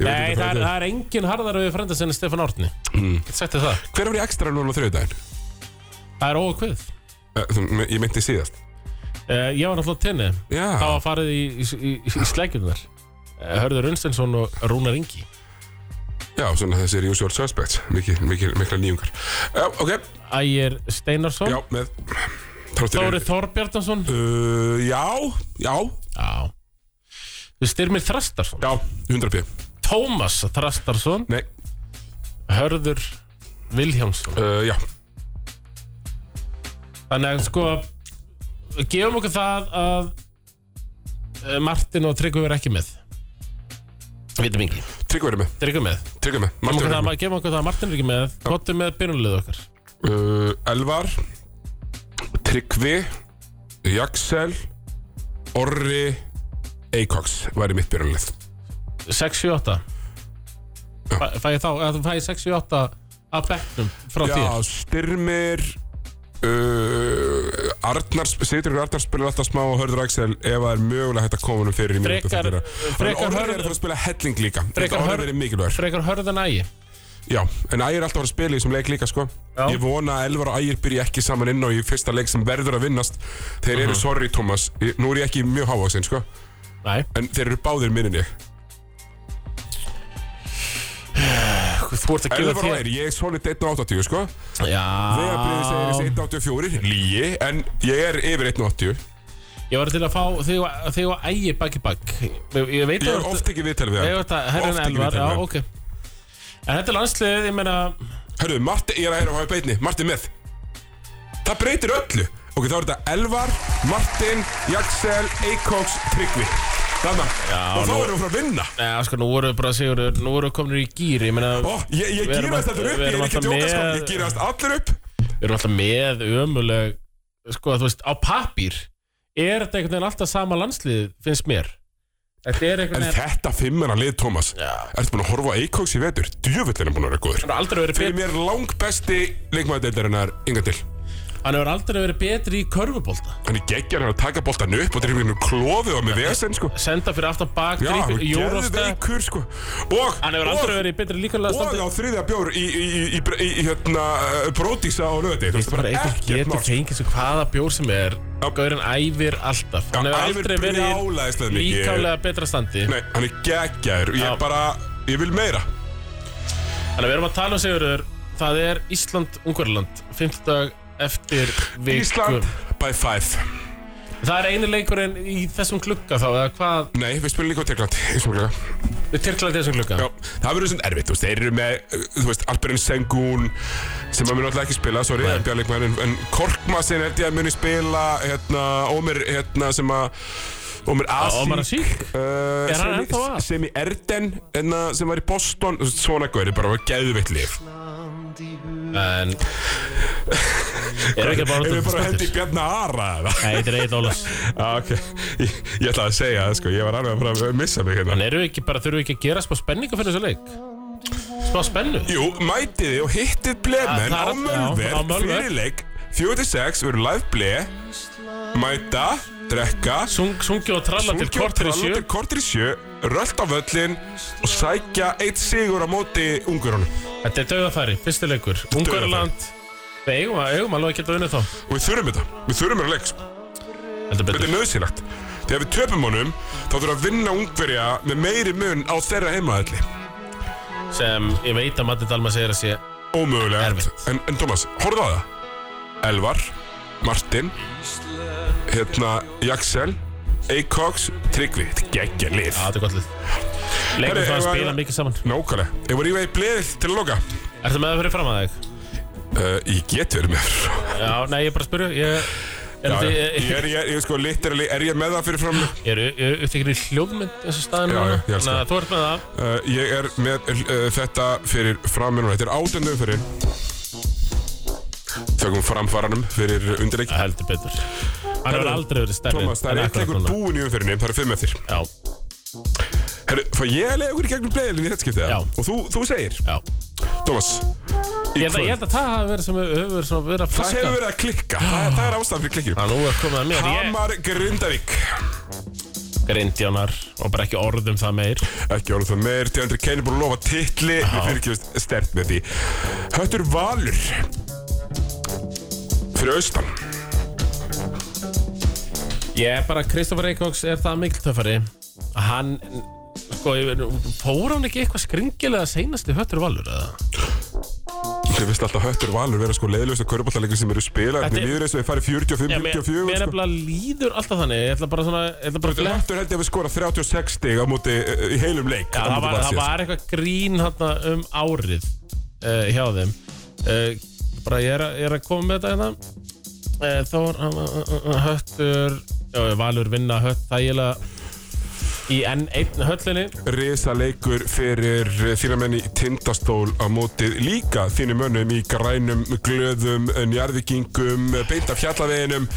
C: Nei, það er, það er engin harðar við frenda sinni Stefán Árni mm. Sætti það,
B: Hver var í ekstra núna á þriðudaginn?
C: það er óakvið
B: Uh, þú- me- ég myndi síðast
C: uh, Ég var náttúrulega tenni
B: Já,
C: Það var farið í, í, í, í slækjurnar uh, Hörður Unstensson og Rúnar Ingi
B: já svona þessi er usual suspects Mikið, mikið, mikla nýjungar Já, ok,
C: Ægir Steinarsson
B: já, með Þróttir
C: Þóri
B: eru-
C: Þorbjarnason
B: Uh, já, já,
C: Já Styrmir Þrastarsson
B: já, 100 p
C: Tómas Þrastarsson
B: Nei,
C: Hörður
B: Eh,
C: Vilhjámsson
B: uh, já,
C: Þannig að sko gefum okkur það að eh, Martin og Tryggvi er ekki með Vitum yngi
B: Tryggvi verið með,
C: Tryggvi er með
B: Tryggvi með,
C: Gefum
B: Martin
C: okkur
B: verið
C: það
B: með
C: að- Gefum okkur það að Martin er ekki með Kottu með byrjunlið okkar
B: uh, Elvar Tryggvi Jaxel Orri Eikoks væri mitt byrjunlið
C: 6-7-8 Fæ- Fæ ég þá eða Þú fæ ég 6-7-8 að bekknum frá þér
B: Já, Styrmir uh, Arnar Sigurður Arnar spilar alltaf smá og Hörður Axel ef það er mögulega hægt að koma honum fyrir í mínútu
C: Frekar-
B: þeirra.
C: frekar
B: En Orri er
C: Hörður-
B: að fara að spila helling líka
C: Frekar
B: Þetta Orri
C: Hörð-
B: verið mikilvægur
C: Frekar hörðan ægi
B: Já, en Ægir er alltaf að fara að spila í þessum leik líka sko
C: Já.
B: Ég vona að Elvar og Ægir byrja ekki saman inn á í fyrsta leik sem verður að vinnast Þeir eru
C: Mhm.
B: sorry Thomas, Ég- nú er ég ekki mjög hávaksinn sko
C: Nei
B: En þeir eru báðir minni ég
C: Þú ert að gefa
B: Elvar og
C: þér
B: Ægir, ég er solid 1.80 sko Þegar bliðið segir
C: Já
B: þessi 1.84 Líi, en ég er yfir 1.80
C: Ég var til að fá þig og- þig og ægi bakki bakk Ég ég veit
B: Ég er
C: að þú ert-
B: oft ekki viðtalið við
C: Ég veit að herrin
B: Oft ekki
C: Elvar Já,
B: viðtalið við
C: ok En þetta er landslið, ég meina
B: Hörru, Marti, ég er að hérna á beitni Marti með Það breytir öllu Ok, þá er þetta Elvar, Martin, Jaxel, Eikóks, Tryggvi Þannig Og þá
C: nú-
B: erum við frá að vinna
C: Nei, sko, nú voru bara Sigurður, nú voru kominir í gýr Ég meina,
B: Ó, ég, ég
C: Við erum
B: gýrast
C: að-
B: alltaf upp,
C: við
B: ég
C: erum
B: er ekki að
C: alltaf
B: djóka sko
C: með-
B: Ég gýrast allir upp
C: við erum alltaf með ömuleg Sko, þú veist, á pappír Er þetta einhvern veginn alltaf sama landslið, finnst mér Þetta er
B: En
C: einhvern veginn
B: þetta fimmana lið, Thomas Ertu búin að horfa á Eikóks í vetur? Djöfullin er búin að vera góður
C: Hann hefur aldrei verið
B: Fyrir
C: betri,
B: mér lang besti leikmaðadeildarinnar Inga til
C: hann hefur aldrei verið betri í körfubólta
B: Hann er geggjar, hann er að taka boltan upp og drifir hennu klofið og með vesen sko
C: Senda fyrir aftan bak,
B: Já, hann
C: drippin,
B: gerði
C: júróstep
B: veikur sko Og,
C: Hann hefur
B: og
C: aldrei verið í betri líkanlega
B: Og á
C: standi
B: þriðja bjór í, í, í, í, í, í hérna, uh, brótísa á löði Þú veist,
C: Bara
B: bara
C: eitthvað
B: ekkert
C: getur
B: mál sko.
C: fengið sem hvaða bjór sem er Gaurin æfir alltaf Hann
B: Já, æfir
C: hefur aldrei verið
B: brjálæðislega
C: í
B: mikið.
C: líkamlega betra standi
B: Nei, hann er geggjær Ég
C: Já.
B: bara, ég vil meira
C: Þannig að við erum að tala um Sigurður Það er Ísland-Ungverland 15 dag eftir viku
B: Ísland by five
C: Það er einu leikurinn í þessum klukka þá eða hvað
B: Nei, við spilum líka á Tyrkland í svona glugga.
C: við Tyrkland í þessum klukka
B: Já, Það verður svona erfitt, þú veist, þeir eru með uh, Þú veist, Alperin Sengun Sem að mun alltaf ekki spila, sorry,
C: Nei.
B: en björleikmann En, en Korkmasin held ég að muni spila Hérna, Ómer, hérna, sem að Ómer Asík
C: Ah, Ómar Asík?
B: uh,
C: Er hann
B: sem í-
C: ennþá að?
B: Sem í Erden, hérna, sem var í Boston þú veist, Svona gauri, bara var geðveitt lif
C: En Erum við ekki bara
B: Erum við bara að hendi
C: Nei,
B: í Bjarna Ara eða?
C: um þetta er Egil Ólafs
B: Já, ok. Ég, ég ætlaði að segja það, sko. Ég var alveg að fara að missa mig hérna.
C: En erum við ekki bara, þurfum við ekki að gera smá spenninga fyrir þessu leik? Smá spennu?
B: Jú, mætið þið og hittið blemenn
C: Það-
B: á
C: það er- já, á
B: mölver
C: Mölver.
B: fyrir leik. 46 verður live ble. Mæta, drekka,
C: Sung, sungi og tralla
B: sungja
C: til
B: og
C: kortur í
B: tralla
C: sjö
B: til kortir í sjö, rölt á völlin og sækja eitt sigur á móti ungurunum.
C: Þetta er döðafæri, fyrsti leikur Ungverland Við eigum, að- eigum alveg að geta unnið þá
B: Og við þurfum þetta. Við þurfum þetta leik, sko.
C: Heldur
B: Þetta
C: betur
B: er nöðsynlegt. Þegar við töpum honum, þá þurfum við að vinna ungverja með meiri mun á þeirra heimaðalli.
C: Sem ég veit að Matti Dalma segir að sé
B: Ómögulegt
C: Erfitt.
B: en, en Thomas, horfðu á það Elvar, Martin Hérna, Jaxel Eikoks, Tryggvi Þetta er geggja lið
C: Já, þetta er gott lið Leikum
B: Herri,
C: það að
B: ef að-
C: spila mikið saman
B: Nákvæmlega, ef voru ég veið bleið til að loka
C: Ertu með það fyrir fram að þig?
B: uh, Ég get verið með
C: Já, nei, ég er bara að spyrja Ég er,
B: Já,
C: þetta-
B: já.
C: ég,
B: Ég er, ég, ég sko, literally, er ég með það fyrir fram uh,
C: ég, er, ég er upptekinn í hljóðmynd þessu staðinu
B: Já, já, ég elska
C: að þú ert með það
B: Ég er með uh, þetta fyrir fram núna. Þetta er átöndu fyrir Tökum framfaranum fyrir undirleik
C: Heldur betur Hann hefur aldrei verið stærri
B: Thomas, það
C: en
B: er
C: akkurat
B: eitthvað einhver
C: núna.
B: búin í umfyrinni, það eru fimm eftir
C: Já,
B: Herru, fá ég að leiða okkur í gegnum bleiðilin í þetta skiptið? eða?
C: Já.
B: Og þú, þú segir,
C: já
B: Thomas
C: Ég held að, ég held að það hafi verið sem hefur verið svona verið að
B: Það
C: flækka
B: hefur verið að klikka, það, það er ástæðan fyrir klikkjum
C: Já, nú er komið að mér Ég
B: Hamar Grindavík
C: grindjánar og bara ekki orðum það meir
B: Ekki orðum það meir, Deandre Kane er búin að lofa titli Við fyrirkjöfum stert með því Höttur Valur Fyrir austan
C: Ég er bara, Kristoffer Eikóks er það mikil töffari að Hann, sko, ég veit- fór hann ekki eitthvað skringilega seinasti höttur valur eða?
B: Þið finnst alltaf Höttur Valur vera sko leiðlösta Körbáttalegri sem eru spilað
C: Þetta
B: Þetta
C: er-
B: er viður eins og við farið 45,
C: Já, mér,
B: 54
C: mér
B: sko.
C: nefnilega líður alltaf þannig Ég ætla bara svona, ég ætla bara að fletta
B: Höttur held ég að við skora 36 stig á móti eh, í heilum leik
C: Já,
B: á
C: það
B: móti
C: var, það
B: Valsías.
C: var eitthvað grín hana, um eh, árið uh, hjá þeim uh, bara ég er, að- ég er að koma með þetta hérna Eh, Þór, uh, uh, uh, Höttur já, Valur vinna Hött þægilega í enn einn höllinni
B: Risa leikur fyrir þína menn í tindastól á mótið líka þínu mönnum í grænum, glöðum, njarvíkingum, beint af fjallaveginum.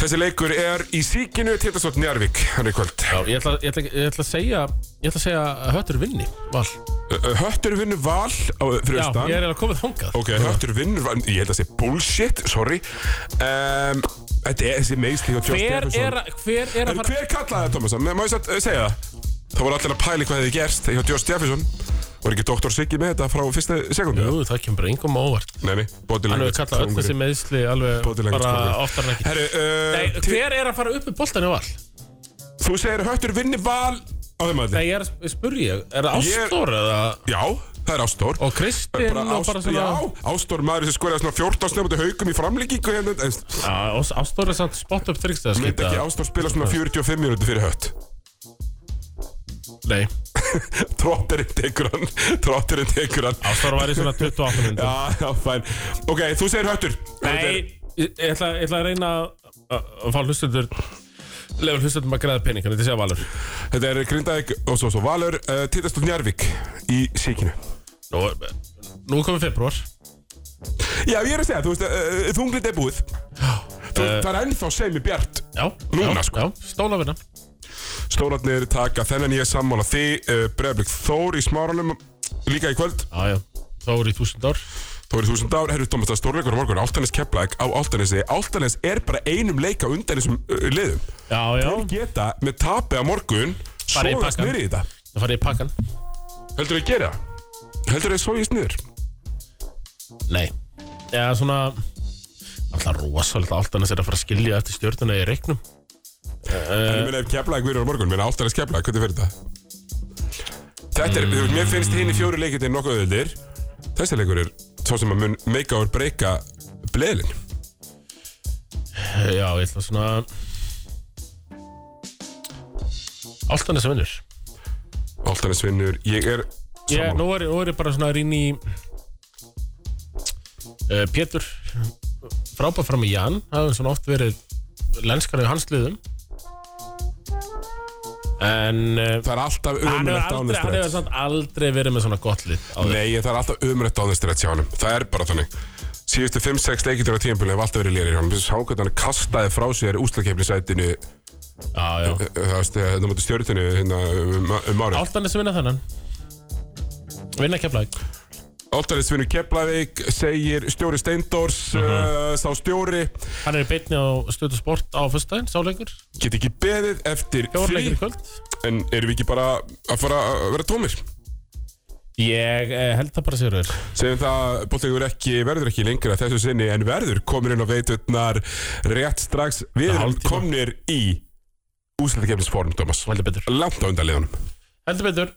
B: Þessi leikur er í síkinu tindastól njarvík, hann er í kvöld.
C: Já, ég ætla, ég, ætla, ég ætla að segja ég ætla að segja að Höttur vinni Val
B: Ö, Höttur vinnur val á fyrir
C: Já,
B: austan.
C: ég er að koma þangað
B: Ok, höttur vinnur val, ég held að það sé bullshit, sorry. Um, þetta er þessi meðsli og
C: Hver er, að- hver er
B: En
C: að fara
B: hver kallaði það, Thomas? Má ég satt eh, segja það? Það voru allir að pæli hvað hefði gerst hjá Joss Jefferson. Voru ekki Dr. Siggi með þetta frá fyrsta sekundu?
C: Jú, það kemur bara engum á óvart
B: Nei, nei,
C: Hann
B: bótilengur
C: hefur kallað öll þessi meðsli alveg
B: Bótilengur
C: bara oftar en ekki
B: Herru,
C: Nei,
B: uh, til,
C: hver er að fara upp með boltan í Val?
B: þú segir höttur vinni val á þeim
C: Nei,
B: aðli
C: ég er að spurja, er það
B: Ég-
C: Ástór eða
B: Já, það er Ástór
C: og Kristinn og bara svona
B: Já, Ástór maður sem skoraði svona 14 snöfnum haukum í framlíkingu hérna en
C: Já, Ás- Ástór er samt spot up þryggst að
B: Myndi
C: skita
B: ekki Ástór spila svona 45 minúti fyrir hött
C: Nei,
B: Trotterinn tekur hann Trotterinn tekur hann
C: Ástór var í svona 28 minn
B: Já, já, fæn Ok, þú segir höttur
C: Nei, ég ég ætla, ég ætla að reyna að- að að fá hlustundur lefa hlustundur að græða pening, þannig að þetta sé að valur
B: Þetta er Grindavík og svo svo Valur uh, Tittast og Njarvík í síkinu
C: Nú, nú komið februar
B: Já, ég er að segja, þú veist, uh, þunglit er búið Þú,
C: Uh.
B: Það er ennþá semi bjart
C: Já,
B: Núna,
C: já,
B: sko.
C: já, Stóla vinna
B: Stólarnir taka þennan ég er sammála því uh, Breiðablík Þór í smáranum líka í kvöld
C: Já, já, þá er í þúsund ár
B: Þór í þúsund ár, herru Tómas, það er stórleikur á morgun Áltanes Keflæk á Áltanesi Áltanes er bara einum leika undan þessum uh, liðum
C: Já, já,
B: Þeir geta með tapi á morgun
C: Bara í
B: Sóðast
C: pakkan.
B: niður í þetta
C: það farið í pakkan
B: Heldur þau að gera það? Heldur þau að sóðast niður?
C: Nei Já, svona Alltaf rosalega allt annars er að fara að skilja eftir stjórnuna í reiknum Eh.
B: En ég meina ef Keflæk verður á morgun, meina Áltanes Keflæk, hvernig fyrir þetta? Þetta
C: Mm.
B: er, þú veist, mér finnst hinn í fjóru leikirnir nokkuð auðvöldir Þessi leikur er svo sem að mun meika úr breyka bleðlin
C: Eh, Já, ég ætla svona Allt annars vinnur
B: Áltanes vinnur, ég er
C: Já,
B: sammála.
C: nú er, nú er ég bara svona að rýna í uh, Pétur frábæð fram í Jan það hefur svona oft verið lenskar í hans liðum en uh,
B: Það er alltaf
C: hann hefur
B: umrætt
C: aldrei, hann hefur
B: ánestrætt
C: samt aldrei verið með svona gott lið á þeim.
B: Nei, ég- það er alltaf umrætt ánestrætt hjá hann Það er bara þannig Síðustu 5-6 leikirnir á tímpil hef alltaf verið lérir Hann sá hvernig hann kastaði frá sér úslakefnisætinu
C: Já, já
B: Það veist, þetta múti stjórninu hérna um, um árið
C: Áltanis vinna þennan vinna keflag
B: Óttarinsvinnu Keflavík segir stjóri Steindors,
C: Mhm.
B: uh, sá stjóri
C: hann er í beinni á stöðu sport á föstudaginn, sáleikur,
B: get ekki beðið eftir
C: fjórleikur
B: því
C: í kvöld
B: en erum við ekki bara að fara að vera tómir
C: ég eh, held það bara sér þér
B: segjum það, bóttlegur ekki verður ekki lengra þessu sinni en verður komin inn á veiturnar rétt strax við erum
C: Hálftíma.
B: komnir í úsleitakefnisform, Thomas
C: heldur betur,
B: langt á undanliðunum
C: heldur betur